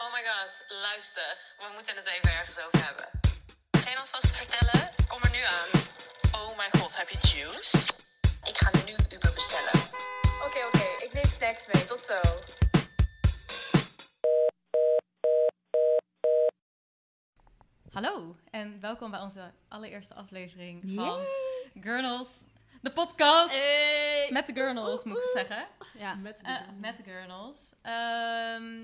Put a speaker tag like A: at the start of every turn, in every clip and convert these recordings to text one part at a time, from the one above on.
A: Oh my god, luister. We moeten het even ergens over hebben. Geen alvast vertellen? Kom er nu aan. Oh mijn god, heb je juice? Ik ga nu Uber bestellen. Oké, oké. Ik neem snacks mee. Tot zo.
B: Hallo en welkom bij onze allereerste aflevering van Gurnals, de podcast. Met de Gurnals, moet ik zeggen.
C: Ja.
D: Met de
B: Eh, met de Gurnals. Ehm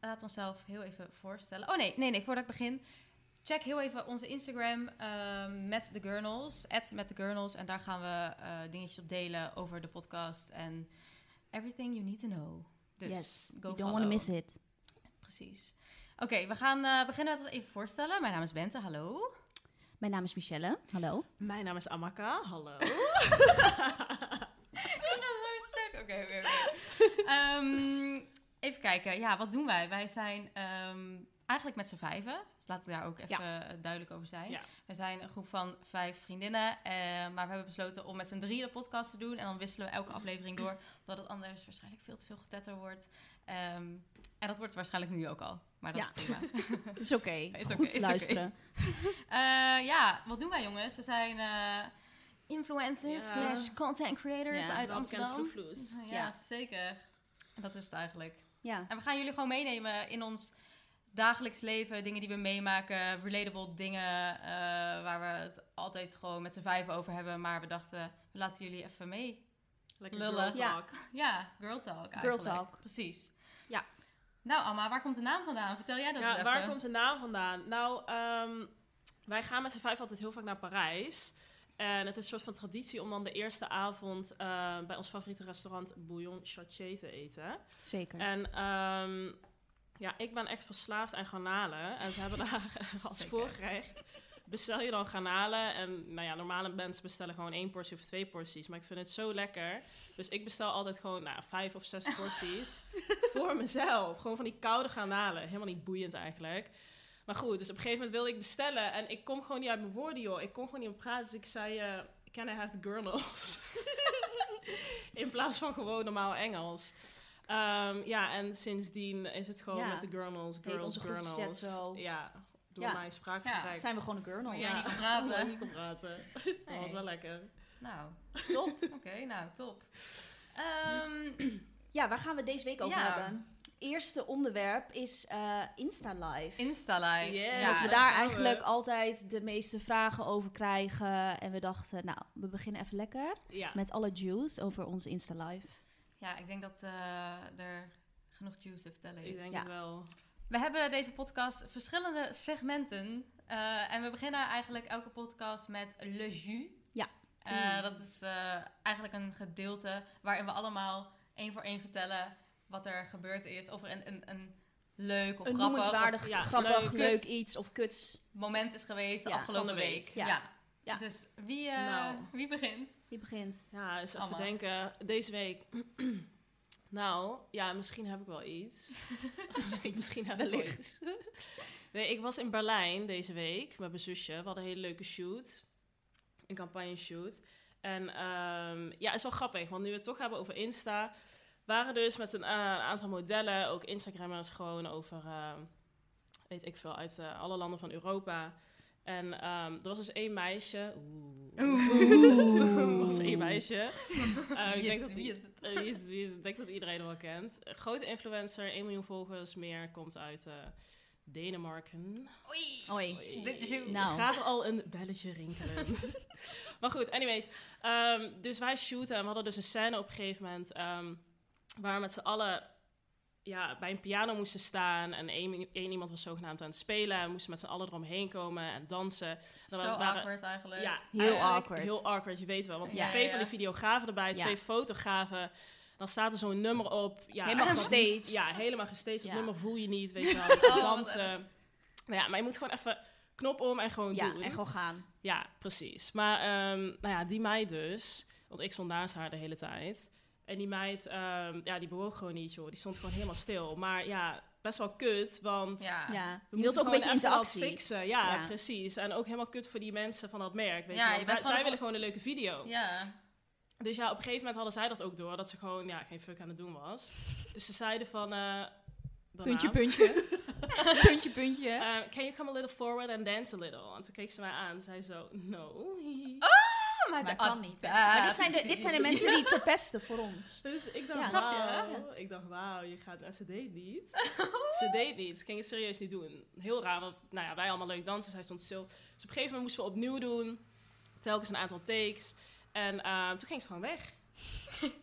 B: laat onszelf heel even voorstellen. Oh nee, nee, nee, voordat ik begin. Check heel even onze Instagram ehm, met de Gurnals, met de Gurnals. En daar gaan we eh, dingetjes op delen over de podcast en everything you need to know. Dus
C: yes.
B: go
C: you don't
B: follow.
C: want to miss it.
B: Precies. Oké, we gaan eh, beginnen met even voorstellen. Mijn naam is Bente, hallo.
C: Mijn naam is Michelle. Hallo.
D: Mijn naam is Amaka, hallo.
B: Ik ben zo stuk. Oké, oké, oké. Ehm, Even kijken. Ja, wat doen wij? Wij zijn ehm, eigenlijk met z'n vijven. Dus laat ik daar ook even eh, duidelijk over zijn.
D: Ja.
B: We zijn een groep van vijf vriendinnen. eh, maar we hebben besloten om met z'n drieën de podcast te doen. En dan wisselen we elke aflevering door. Omdat het anders waarschijnlijk veel te veel getetter wordt. Ehm, en dat wordt waarschijnlijk nu ook al. Maar dat
C: Ja.
B: is prima.
C: Is oké.
B: Is oké,
C: Goed
B: is oké.
C: luisteren.
B: Eh, ja, wat doen wij jongens? We zijn eh, influencers
D: Ja.
B: slash content creators
C: Ja,
B: uit
D: Welkom
B: Amsterdam.
D: aan de Vloevloes.
B: Ja,
C: Ja.
B: zeker. Dat is het eigenlijk.
C: Ja.
B: En we gaan jullie gewoon meenemen in ons dagelijks leven. Dingen die we meemaken, relatable dingen eh, waar we het altijd gewoon met z'n vijven over hebben. Maar we dachten, we laten jullie even mee.
D: Lekker
B: Lullen.
D: girl talk.
B: Ja, girl talk eigenlijk.
C: talk.
B: Precies.
D: Ja.
B: Nou Amma, waar komt de naam vandaan? Vertel jij dat
D: Ja,
B: eens even.
D: waar komt de naam vandaan? Nou, ehm, wij gaan met z'n vijf altijd heel vaak naar Parijs. En het is een soort van traditie om dan de eerste avond eh, bij ons favoriete restaurant Bouillon Chartier te eten.
C: Zeker.
D: En ehm, ja, ik ben echt verslaafd aan garnalen. En ze hebben daar als
B: Zeker.
D: voorgerecht. Bestel je dan garnalen. En nou ja, normale mensen bestellen gewoon één portie of twee porties. Maar ik vind het zo lekker. Dus ik bestel altijd gewoon nou, vijf of zes porties. voor mezelf. Gewoon van die koude garnalen. Helemaal niet boeiend eigenlijk. Maar goed, dus op een gegeven moment wilde ik bestellen. En ik kom gewoon niet uit mijn woorden, joh. Ik kon gewoon niet op praten. Dus ik zei, eh, can I have the gurnals? In plaats van gewoon normaal Engels. Ehm, ja, en sindsdien is het gewoon
C: Ja.
D: met de gurnals,
C: Heet
D: girls,
C: onze groepschat
D: gurnals.
C: zo.
D: Ja, door
C: Ja.
D: mijn spraakgebruik.
C: Zijn we gewoon een girl?
B: Moet
C: Ja.
B: jij niet op
D: Omdat ik
B: praten?
D: niet kon praten. Dat was
B: Nee.
D: wel lekker.
B: Nou,
C: Top.
B: oké, nou top. Ehm,
C: Ja, waar gaan we het deze week over
B: Ja.
C: hebben? Eerste onderwerp is eh, Insta Live.
B: Insta live.
D: Yes.
C: dat
D: Ja,
C: we
D: daar
C: daar
D: gaan we.
C: eigenlijk altijd de meeste vragen over krijgen. En we dachten, nou, we beginnen even lekker
D: Ja,
C: met alle juice over onze Insta Live.
B: Ja, ik denk dat eh, er genoeg juice te vertellen is.
D: ik denk
C: Ja.
D: het wel.
B: We hebben deze podcast verschillende segmenten. eh, en we beginnen eigenlijk elke podcast met Le Jus.
C: Ja.
B: Eh,
D: Mm.
B: Dat is eh, eigenlijk een gedeelte waarin we allemaal één voor één vertellen wat er gebeurd is. Of er een, een, een leuk of
C: een
B: grappig
C: noemenswaardig,
B: of
D: ja,
C: grappig,
D: leuk,
C: leuk,
B: kuts.
C: iets of kuts.
B: moment is geweest de
C: Ja,
B: afgelopen
D: van de week.
B: Ja.
C: Ja. Ja.
B: Dus wie, eh,
D: Nou.
B: wie begint?
C: Je begint.
D: Ja, eens even
B: Allemaal.
D: denken. Deze week. nou, ja, misschien heb ik wel iets. misschien, misschien heb ik wel
C: Wellicht.
D: iets. nee, ik was in Berlijn deze week met mijn zusje. We hadden een hele leuke shoot. Een campagne shoot. En ehm, ja, is wel grappig, want nu we het toch hebben over Insta... waren dus met een, eh, een aantal modellen, ook Instagrammers gewoon over... eh, weet ik veel, uit eh, alle landen van Europa. En ehm, er was dus één meisje... Oeh. Er was één meisje. Eh, ik
B: Wie
D: denk
B: is-
D: dat
B: wie
D: die-
B: is het?
D: eh, wie is het? Wie is het? Ik denk dat iedereen hem wel kent. Eh, Grote influencer, 1 miljoen volgers meer, komt uit eh, Denemarken.
B: Oei.
C: Hoi.
D: Oei.
B: Dit is you.
C: Nou.
D: Gaat er al een belletje rinkelen. maar goed, anyways. Ehm, dus wij shooten en we hadden dus een scène op een gegeven moment... ehm, waar we met z'n allen ja, bij een piano moesten staan... en één, één iemand was zogenaamd aan het spelen... en we moesten met z'n allen eromheen komen en dansen.
B: Zo
D: Dan waren-
B: awkward eigenlijk.
D: Nou, ja,
C: Heel
D: eigenlijk
C: awkward.
D: Heel awkward, je weet wel. Want
B: Ja,
D: twee
B: ja,
D: van
B: ja.
D: die videografen erbij,
C: Ja.
D: twee fotografen. Dan staat er zo'n nummer op. Ja,
C: Helemaal
D: dat-
C: gestaged.
D: Ja, helemaal gestaged. Dat
C: Ja.
D: nummer voel je niet, weet je wel. Je
B: Oh,
D: gaat
B: wat
D: dansen. Maar ja, maar je moet gewoon even knop om en gewoon
C: Ja,
D: doen.
C: en gewoon gaan.
D: Ja, precies. Maar ehm, nou ja, die meid dus, want ik stond naast haar de hele tijd. En die meid, ehm, ja, die bewoog gewoon niet, joh. Die stond gewoon helemaal stil. Maar ja, best wel kut, want
B: Ja.
C: Ja.
D: we
C: Je wilt
D: moeten
C: ook een beetje
D: gewoon even wat
C: interactie.
D: fixen. Ja,
C: Ja.
D: precies. En ook helemaal kut voor die mensen van dat merk. Weet
B: Ja,
D: je
B: je
D: wel.
B: bent
D: Wij-
B: gewoon
D: Zij
B: op-
D: willen gewoon een leuke video.
B: Ja.
D: Dus ja, op een gegeven moment hadden zij dat ook door. Dat ze gewoon ja, geen fuck aan het doen was. Dus ze zeiden van... eh, daarna.
E: Puntje, puntje. puntje, puntje.
D: Eh, can you come a little forward and dance a little? En toen keek ze mij aan. Zei zo, no.
E: Oh, maar
B: dat
E: dat
B: kan
E: kan
B: niet.
E: Maar dit zijn de, dit zijn de mensen die het verpesten voor ons.
D: Dus ik dacht,
B: Ja.
D: wauw.
E: Snap Oh.
D: Ik dacht, wauw, je gaat... En ze deed niet. ze deed niet. Ze ging het serieus niet doen. Heel raar, want nou ja, wij allemaal leuk dansen. Zij stond stil. Dus op een gegeven moment moesten we opnieuw doen. Telkens een aantal takes. En eh, toen ging ze gewoon weg.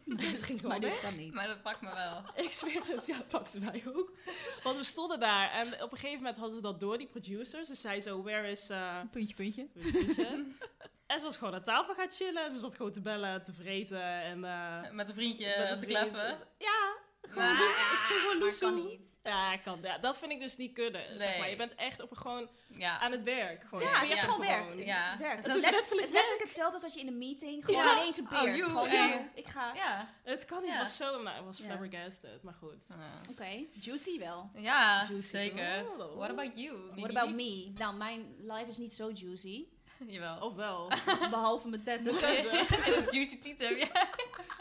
D: ze ging gewoon
E: Maar
D: weg.
E: dit kan niet.
B: Maar dat pakt me wel.
D: Ik zweer het, ja, het pakte mij ook. Want we stonden daar en op een gegeven moment hadden ze dat door, die producers. Ze zei zo, where is... eh,
E: Puntje, puntje.
D: weet je, weet je. en ze was gewoon aan tafel gaan chillen. Ze zat gewoon te bellen, te vreten en... eh,
B: Met een vriendje
D: met
B: eh,
D: het
B: te
D: drinken.
B: klappen.
D: Ja,
B: Maar
D: is gewoon
B: maar
D: loesoe.
B: kan niet.
D: ja, kan, ja, dat vind ik dus niet kunnen. Zeg
B: Nee.
D: maar. Je bent echt op, gewoon
B: Ja.
D: aan het werk. Gewoon.
B: Ja,
D: Je
B: het is
D: werkt
B: gewoon
E: werk.
B: Ja.
E: Het is werk.
B: Dus
E: Het
B: dat
E: is
B: is
E: net- het
D: letterlijk
E: is letterlijk hetzelfde als dat je in een meeting gewoon
B: Ja.
E: ineens een
B: Oh,
E: beert.
B: you,
E: gewoon,
B: eh,
E: ja, ik ga.
B: Ja.
D: Het kan niet,
B: Ja.
D: het was zo... Nou, het was
E: Ja.
D: flabbergasted, maar goed.
E: Oké, juicy wel.
B: Ja,
D: Juicy
B: Ah, zeker.
D: toch? Oh,
B: What about you?
E: What
B: Bibi?
E: about me? Nou, mijn life is niet zo juicy.
D: Oh,
B: Jawel. Oh
D: Ofwel,
E: Behalve mijn tetten.
B: En een juicy titel. Ja.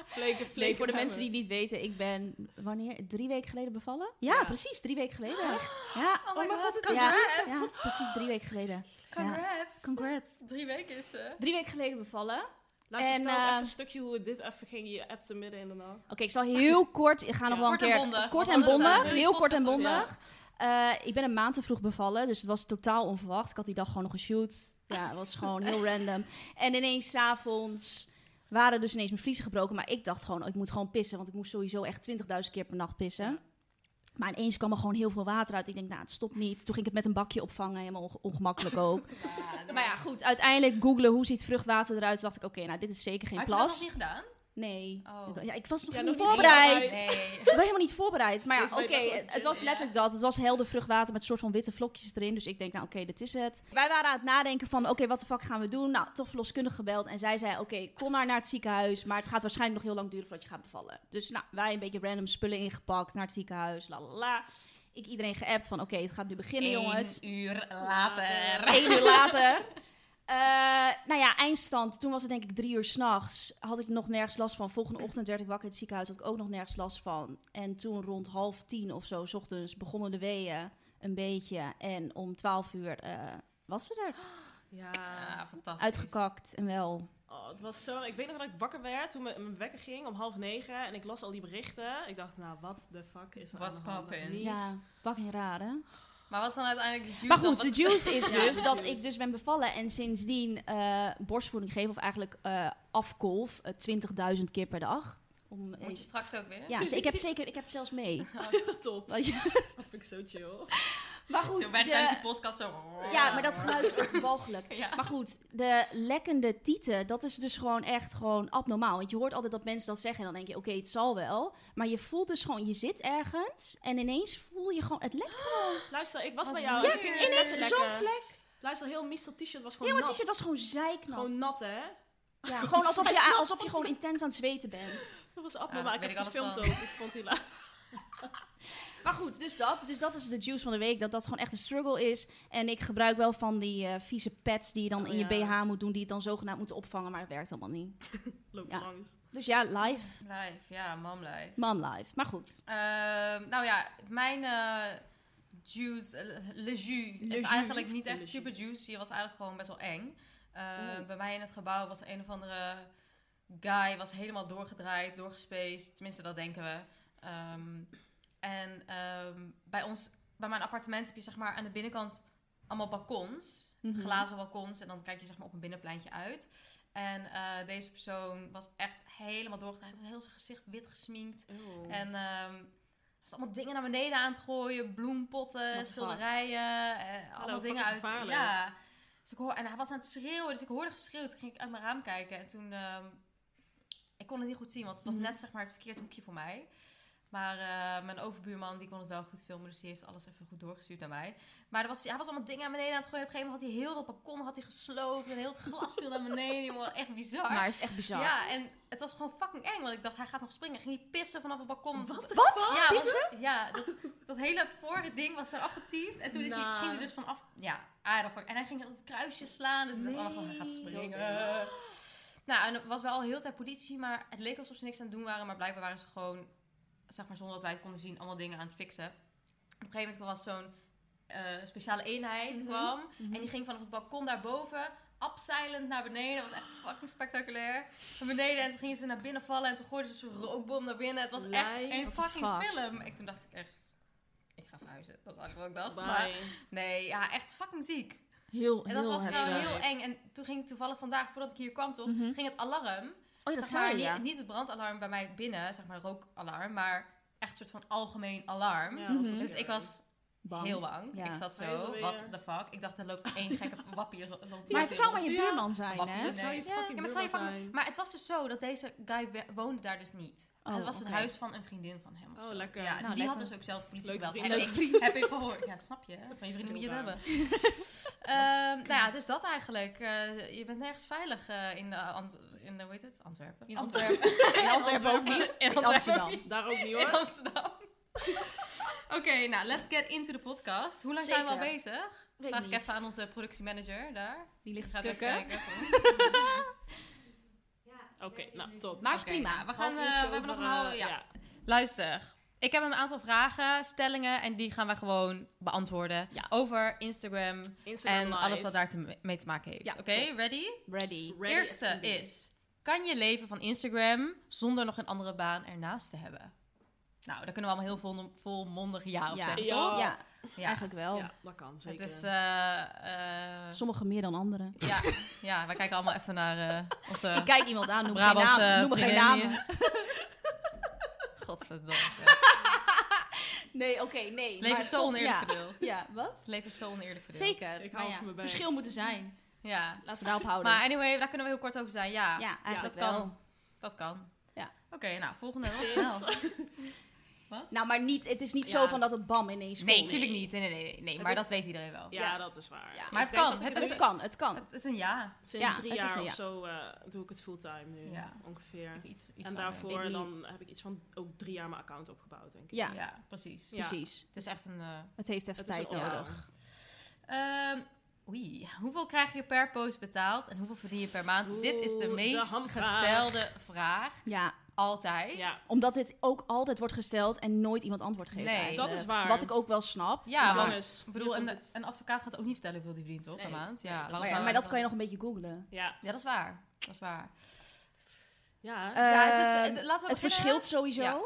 D: fleken, fleken.
E: Nee, voor de
D: hebben.
E: mensen die het niet weten, ik ben wanneer? Drie weken geleden bevallen? Ja,
D: Ja.
E: precies, drie weken geleden. Echt? Ja,
B: Oh my god,
E: ja,
B: congrats.
E: ja, precies drie weken geleden.
B: Congrats.
E: Congrats.
B: Drie weken is eh, ze.
E: Drie weken geleden bevallen. Oké,
D: Luister,
E: En,
D: vertel ook even
E: ehm,
D: een stukje hoe het dit even ging. Je appte midden in de nacht.
E: ik zal heel kort, ik ga nog
D: Ja.
E: wel een
B: Kort en
E: keer.
B: bondig,
E: Kort
B: want
E: en
B: anders, eh,
E: bondig,
B: wil je
E: heel
B: podcast
E: kort en
B: ook, ja.
E: bondig. Eh, ik ben een maand te vroeg bevallen, dus het was totaal onverwacht. Ik had die dag gewoon nog geshoot. Ja, het was gewoon heel random. En ineens s'avonds waren dus ineens mijn vliezen gebroken. Maar ik dacht gewoon, oh, ik moet gewoon pissen. Want ik moest sowieso echt 20.000 keer per nacht pissen.
D: Ja.
E: Maar ineens kwam er gewoon heel veel water uit. Ik denk, nou, het stopt niet. Toen ging ik het met een bakje opvangen. Helemaal onge- ongemakkelijk ook. maar Nou ja, goed. Uiteindelijk googelen hoe ziet vruchtwater eruit. Toen dacht ik, oké, nou, dit is zeker geen
B: Had je dat nog
E: plas.
B: niet gedaan?
E: Nee.
B: Oh.
E: Ik- Ja, ik was nog
D: Ja,
E: niet
D: nog niet
E: voorbereid.
D: voorbereid.
B: Nee.
E: Ik ben helemaal niet voorbereid. Maar ja,
D: Deze
E: oké,
D: bij de
E: het,
D: grote
E: het was
B: gin,
E: letterlijk dat. Het was helder vruchtwater met soort van witte vlokjes erin. Dus ik denk, nou oké, dit is het. Wij waren aan het nadenken van, oké, wat de fuck gaan we doen? Nou, toch verloskundig gebeld. En zij zei, oké, kom maar naar het ziekenhuis. Maar het gaat waarschijnlijk nog heel lang duren voordat je gaat bevallen. Dus nou, wij een beetje random spullen ingepakt naar het ziekenhuis, la la la. Ik iedereen geappt van, oké, het gaat nu beginnen, jongens.
B: Eén uur later.
E: Eén uur later. Eh, nou ja, eindstand. Toen was het denk ik drie uur s'nachts. Had ik nog nergens last van. Volgende ochtend werd ik wakker in het ziekenhuis. Had ik ook nog nergens last van. En toen rond half tien of zo, s ochtends, begonnen de weeën een beetje. En om twaalf uur eh, was ze er.
D: Oh, Ja.
B: Ja, Ah, fantastisch.
E: Uitgekakt en wel.
D: Oh, het was zo... Ik weet nog dat ik wakker werd toen mijn, mijn wekker ging om half negen. En ik las al die berichten. Ik dacht, nou, wat de fuck is er
B: What's
D: aan de hand?
B: poppin'?
D: Niets.
E: Ja, fucking raar hè?
B: Maar wat is dan uiteindelijk de juice?
E: Maar
B: dan?
E: goed,
B: Wat
E: de juice is
D: Ja,
E: dus
D: de
E: dat
D: juice.
E: ik dus ben bevallen en sindsdien eh, borstvoeding geef. Of eigenlijk eh afkolf eh, 20.000 keer per dag. Om,
B: Moet je straks ook weer?
E: Ja, dus ik heb het zeker, ik heb het zelfs mee.
D: Top.
E: Want je-
D: Dat vind ik zo chill.
E: Maar
B: Zo
E: goed,
B: bij de tijdens die
E: de,
B: podcast zo...
E: ja, maar dat geluid is ook walgelijk.
B: Ja.
E: Maar goed, de lekkende tieten, dat is dus gewoon echt gewoon abnormaal. Want je hoort altijd dat mensen dat zeggen en dan denk je, oké, het zal wel. Maar je voelt dus gewoon, je zit ergens en ineens voel je gewoon, het lekt.
D: Luister, ik was
B: Wat
D: bij jou.
B: leuk.
D: en toen ging
B: Ja,
D: het
E: ineens
D: lekker.
E: zo'n
D: Luister, heel Mies, dat t-shirt was gewoon
E: Heel het
D: nat.
E: t-shirt was gewoon zeiknat.
D: Gewoon nat, hè?
E: ja, gewoon alsof je, alsof je gewoon intens aan het zweten bent.
D: Dat was abnormaal.
B: Ja,
D: ik heb
B: weet ik
D: gefilmd
B: alles
D: ook. Ik vond die laag.
E: Maar goed, dus dat. Dus dat is de juice van de week. Dat dat gewoon echt een struggle is. En ik gebruik wel van die eh, vieze pads die je dan
D: Oh,
E: in je
D: ja.
E: BH moet doen. Die het dan zogenaamd moet opvangen. Maar het werkt allemaal niet.
D: Loopt
E: Ja.
D: langs.
E: Dus ja, live.
B: Live, ja, mom live.
E: Mom live. Maar goed.
B: Ehm, nou ja, mijn eh, juice, eh, le jus,
D: Le
B: is
D: jus.
B: eigenlijk niet
D: Le
B: echt
D: jus.
B: super juicy. Het was eigenlijk gewoon best wel eng. Eh,
D: Oeh.
B: Bij mij in het gebouw was een of andere guy, was helemaal doorgedraaid, doorgespaced. Tenminste, dat denken we. Ehm, en ehm, bij ons, bij mijn appartement heb je zeg maar aan de binnenkant allemaal balkons.
E: Mhm.
B: Glazen balkons. En dan kijk je zeg maar op een binnenpleintje uit. En eh, deze persoon was echt helemaal doorgedraaid. Hij had heel zijn gezicht wit gesminkt. En ehm was allemaal dingen naar beneden aan het gooien. Bloempotten,
E: What the
B: schilderijen. eh, allemaal dingen
D: fucking
B: uit.
D: gevaarlijk.
B: Ja. Dus ik hoor, en hij was aan het schreeuwen. Dus ik hoorde geschreeuwd. Toen ging ik uit mijn raam kijken. En toen... ehm, ik kon het niet goed zien. Want het was
E: Mhm.
B: net zeg maar het verkeerd hoekje voor mij. Maar eh, mijn overbuurman die kon het wel goed filmen. Dus die heeft alles even goed doorgestuurd naar mij. Maar er was, hij was allemaal dingen naar beneden aan het gooien. Op een gegeven moment had hij heel dat balkon had hij gesloopt. En heel het glas viel naar beneden. Jongen, echt bizar.
E: Maar het is echt bizar.
B: Ja, en het was gewoon fucking eng. Want ik dacht, hij gaat nog springen. Ging hij pissen vanaf het balkon. Wat? Ja, want- ja dat, dat hele vorige ding was er afgetiefd. En toen is hij,
D: Nou.
B: ging hij dus vanaf... Ja, aardig. En hij ging het kruisje slaan. Dus ik dacht, oh, hij gaat
D: Nee.
B: springen.
D: Dood.
B: Nou, en er was wel al heel tijd politie. Maar het leek alsof ze niks aan het doen waren. Maar blijkbaar waren ze gewoon, zeg maar, zonder dat wij het konden zien... allemaal dingen aan het fixen. een gegeven moment was zo'n eh, speciale eenheid
D: Mhm.
B: kwam. En die ging vanaf het balkon daarboven, abseilend naar beneden. Dat was echt fucking spectaculair. Naar beneden en toen gingen ze naar binnen vallen. En toen gooiden ze zo'n rookbom naar binnen. Het was echt
D: Lijp.
B: een
D: What the
B: fucking
E: fuck?
B: film. Ik, toen dacht ik echt, ik ga verhuizen. Dat is eigenlijk wat ik dacht. Maar
D: Bye.
B: nee, ja, echt fucking ziek.
E: Heel,
B: En dat
E: heel
B: was gewoon
E: heftig.
B: heel eng. En toen ging toevallig vandaag, voordat ik hier kwam toch,
E: Mhm.
B: ging het alarm
E: Oh, ja,
B: zeg
E: dat
B: maar,
E: zei je,
B: niet,
E: ja.
B: niet het brandalarm bij mij binnen, zeg maar rookalarm, maar echt een soort van algemeen alarm.
D: Ja, dat was
E: Mhm.
B: Dus
D: heel
B: ik was
E: Bang.
B: heel bang.
E: Ja.
B: Ik zat
D: Hij is
B: zo,
D: alweer-
B: what the fuck. Ik dacht, er loopt één gekke wappie. ro- loopt
E: Maar
B: hier
E: het zou maar
B: binnen.
E: je
D: Ja.
E: buurman zijn, hè?
B: Wappie.
D: Het zou je
B: Nee.
D: fucking
B: Ja, maar, zou je
D: buurman
B: fucking-
D: zijn.
B: maar het was dus zo dat deze guy we- woonde daar dus niet.
E: Oh,
B: het was het
E: oké.
B: huis van een vriendin van hem. of
D: Oh,
B: zo.
D: lekker.
B: Ja,
D: Nou,
B: die
E: lekker.
B: had dus ook zelf de politie
D: Leuk
B: gebeld.
D: vriend.
B: Heb
D: Leuk
B: ik-
D: vriend.
B: Heb ik gehoord. Ja, snap je. Van je vrienden moet je het
D: heel
B: hebben. Ehm, nou ja, dus dat eigenlijk. Eh, je bent nergens veilig eh, in, de Ant- in de, hoe heet het? Antwerpen.
C: In
B: Antwerpen.
E: In Antwerpen ook niet.
B: In
E: In
B: Antwerpen
E: Amsterdam.
B: ook
D: Daar ook niet
B: niet. In
D: hoor.
B: Amsterdam. Oké, nou, let's get into the podcast. Hoe lang zijn we al
E: Zeker.
B: bezig?
E: Weet
B: Vraag ik
E: niet.
B: even aan onze productiemanager daar.
E: Die
B: Die
E: ligt
B: gaat even
E: tukken.
B: kijken.
D: Oké, nou top.
E: Maar is
B: Oké,
E: prima.
B: nou, we, gaan,
D: Half
B: eh,
D: uurtje
B: we hebben nog
D: over,
B: een halve...
D: eh,
B: ja. Luister, ik heb een aantal vragen, stellingen en die gaan wij gewoon beantwoorden.
E: Ja.
B: Over Instagram en
D: Instagram live.
B: alles wat daar te, mee te maken heeft.
E: Ja,
B: Oké,
E: top.
B: ready?
E: Ready.
D: Ready as
B: Eerste
D: can be.
B: is, kan je leven van Instagram zonder nog een andere baan ernaast te hebben? Nou, daar kunnen we allemaal heel vol, volmondig ja op
E: Ja.
B: zeggen,
D: Ja.
B: toch?
E: Ja,
B: Ja.
E: eigenlijk wel.
D: Ja, dat kan zeker.
B: Het oh. is... eh, eh,
E: Sommigen meer dan anderen.
B: ja, ja, wij kijken allemaal even naar eh, onze...
E: Ik kijk iemand aan, noem geen
B: Brabantse
E: naam. Noem geen
B: vriendin
E: naam.
B: eh, hier. Godverdomme.
E: Nee, oké, nee.
B: Het leven
E: maar
B: is zo
E: som-
B: oneerlijk
E: ja.
B: verdeeld.
E: ja, wat?
B: Het leven is zo oneerlijk verdeeld.
E: Zeker.
D: Ik hou
E: maar ja,
D: van mijn bek.
E: Verschil moeten zijn.
B: Ja.
E: Laten we daarop houden.
B: Maar anyway, daar kunnen we heel kort over zijn. Ja,
E: ja, eigenlijk
B: dat kan.
E: wel.
B: dat kan.
E: Ja.
B: Oké, nou, volgende heel snel.
E: Nou, maar niet, het is niet
D: Ja.
E: zo van dat het bam ineens komt.
B: Nee, natuurlijk niet. Nee, nee, nee. nee, nee.
D: Het
B: Maar
D: is-
B: dat weet iedereen wel.
D: Ja,
E: Ja.
D: dat is waar.
E: Ja.
D: Ik
B: Maar het
D: denk
B: kan,
D: dat ik
B: het
D: het
B: is-
E: Het kan, het kan.
B: Het is een ja.
D: Sinds
E: Ja,
D: drie
E: het is
D: jaar
E: een
D: of
E: ja.
D: zo eh, doe ik het fulltime nu
B: Ja.
D: ongeveer.
B: Iets, iets
D: en
B: van-
D: daarvoor
E: Ik-
D: dan heb ik iets van ook drie jaar mijn account opgebouwd, denk ik.
E: Ja,
B: Ja. precies.
D: Ja.
E: precies.
B: Het is echt een... eh,
E: Het heeft even
D: Het is
E: tijd
D: een
E: nodig.
D: oorlog.
B: ehm, oei, hoeveel krijg je per post betaald en hoeveel verdien je per maand?
D: Oeh,
B: Dit is de
D: de
B: meest
D: hamvraag.
B: gestelde vraag.
E: Ja,
B: Altijd.
D: Ja,
E: omdat dit ook altijd wordt gesteld en nooit iemand antwoord geeft
B: Nee.
E: eigenlijk.
D: Dat is waar.
E: Wat ik ook wel snap.
B: Ja,
D: Dus
B: want
D: jongens,
B: ik bedoel,
D: hier
B: een,
D: komt het.
B: een advocaat gaat ook niet vertellen hoeveel die verdient, toch? Per
D: Nee.
B: maand. Ja,
D: Nee, dat
B: waarom
D: is
E: Maar,
B: zou
E: ja,
D: waar.
E: maar
B: hij
E: dat kan je nog een beetje googlen.
D: ja.
B: Ja, dat is waar. Dat is waar.
D: ja.
B: ja,
E: Eh,
B: het, is, Ehm, het, laten we
E: het
B: beginnen.
E: verschilt sowieso
B: Ja.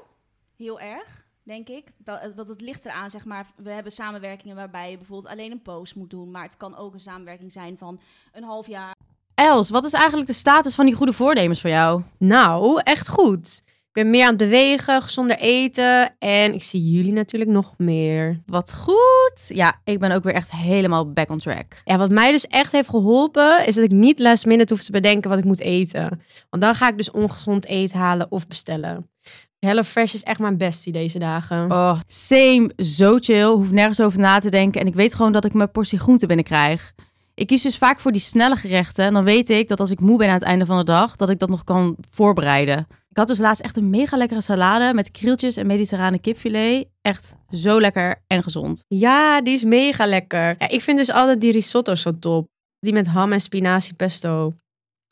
E: heel erg, denk ik. Wel, eh, Want het ligt eraan, zeg maar. We hebben samenwerkingen waarbij je bijvoorbeeld alleen een post moet doen. Maar het kan ook een samenwerking zijn van een half jaar.
B: Els, wat is eigenlijk de status van die goede voornemens voor jou?
F: Nou, echt goed. Ik ben meer aan het bewegen, gezonder eten en ik zie jullie natuurlijk nog meer.
B: Wat goed. Ja, ik ben ook weer echt helemaal back on track.
F: Ja, wat mij dus echt heeft geholpen is dat ik niet last minute hoef te bedenken wat ik moet eten. Want dan ga ik dus ongezond eten halen of bestellen. HelloFresh is echt mijn bestie deze dagen.
B: Oh, same. Zo chill. Hoef nergens over na te denken. En ik weet gewoon dat ik mijn portie groente binnenkrijg. Ik kies dus vaak voor die snelle gerechten. En dan weet ik dat als ik moe ben aan het einde van de dag, dat ik dat nog kan voorbereiden. Ik had dus laatst echt een mega lekkere salade met krieltjes en mediterrane kipfilet. Echt zo lekker en gezond.
F: Ja, die is mega lekker. Ja, ik vind dus altijd die risotto zo top. Die met ham en spinazie pesto.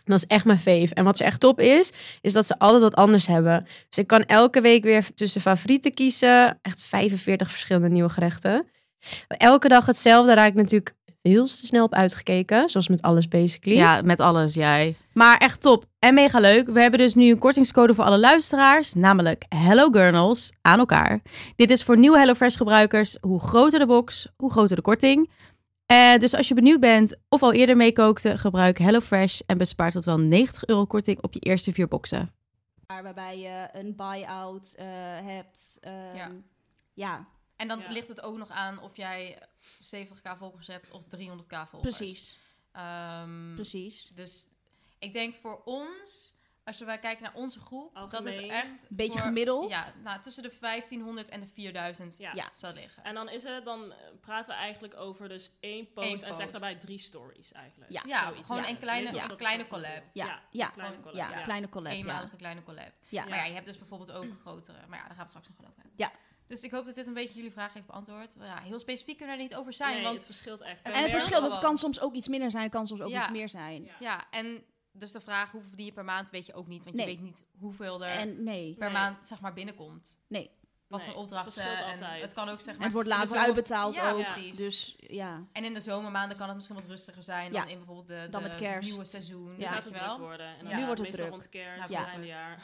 F: Dat is echt mijn fave. En wat ze echt top is, is dat ze altijd wat anders hebben. Dus ik kan elke week weer tussen favorieten kiezen. Echt 45 verschillende nieuwe gerechten. Elke dag hetzelfde raak ik natuurlijk heel te snel op uitgekeken. Zoals met alles basically.
B: Ja, met alles, jij. Maar echt top en mega leuk. We hebben dus nu een kortingscode voor alle luisteraars, namelijk Hello Gurnals aan elkaar. Dit is voor nieuwe HelloFresh gebruikers. Hoe groter de box, hoe groter de korting. Eh, dus als je benieuwd bent of al eerder meekookte, gebruik HelloFresh en bespaart tot wel 90 euro korting op je eerste vier boxen.
E: Waarbij je een buy-out eh, hebt. ehm,
B: Ja.
E: ja,
B: En
D: dan Ja. ligt
B: het ook nog aan of jij 70k volgers hebt of 300k volgers. Ehm,
E: precies.
D: Mm.
E: Precies.
B: Dus ik denk voor ons, als wij kijken naar onze groep, dat het
D: Algemeen.
B: echt...
E: Een beetje
B: voor-
E: gemiddeld.
B: Ja, nou, tussen de 1500 en de 4000
D: Ja.
E: Ja.
B: zou liggen.
D: En dan is het, dan eh, praten we eigenlijk over dus één post,
B: Eén
D: en zeg
B: post.
D: daarbij drie stories eigenlijk.
E: Ja.
B: Ja,
D: Zoiets
B: gewoon
D: is
B: een
D: het.
B: kleine-
D: Meestal is
B: een
D: dat
B: kleine
D: soort van-
B: collab.
E: Ja,
D: Ja,
E: ja,
D: kleine collab.
E: ja,
D: ja.
E: kleine collab. Ja.
B: Eenmalige kleine collab.
E: Ja.
B: Maar ja, je hebt dus bijvoorbeeld ook grotere. Maar ja, daar gaan we het straks nog wel over hebben.
E: Ja.
B: Dus ik hoop dat dit een beetje jullie vraag heeft beantwoord. Ja, heel specifiek kunnen we daar niet over zijn.
D: Nee,
B: want
D: het verschilt echt.
B: En
D: per
E: En het
B: werkt
D: merk.
E: verschil, dat
B: gewoon.
E: kan soms ook iets minder zijn, het kan soms ook
B: Ja.
E: iets meer zijn.
D: Ja.
B: ja, en dus de vraag hoeveel verdien je per maand weet je ook niet. Want
E: Nee.
B: je weet niet hoeveel er
E: En nee,
B: per
D: Nee.
B: maand zeg maar binnenkomt.
E: Nee.
B: wat
D: Nee,
B: voor
D: het
B: opdrachten.
D: verschilt
B: en
D: altijd.
B: het kan ook zeg maar.
E: het wordt
B: in de
E: later
B: zomer-
E: uitbetaald
B: Ja,
E: ook.
B: precies.
E: Dus ja.
B: En in de zomermaanden kan het misschien wat rustiger zijn
E: Ja.
B: dan in bijvoorbeeld de,
E: Dan
B: de
E: met kerst.
B: nieuwe seizoen.
E: Ja.
B: Ja, weet
D: gaat het
B: je
D: druk
B: wel.
D: worden. En
B: Nu
D: dan
E: wordt het
D: meestal
E: druk.
D: rond kerst,
B: Nou,
D: ja.
B: ja.
D: einde jaar.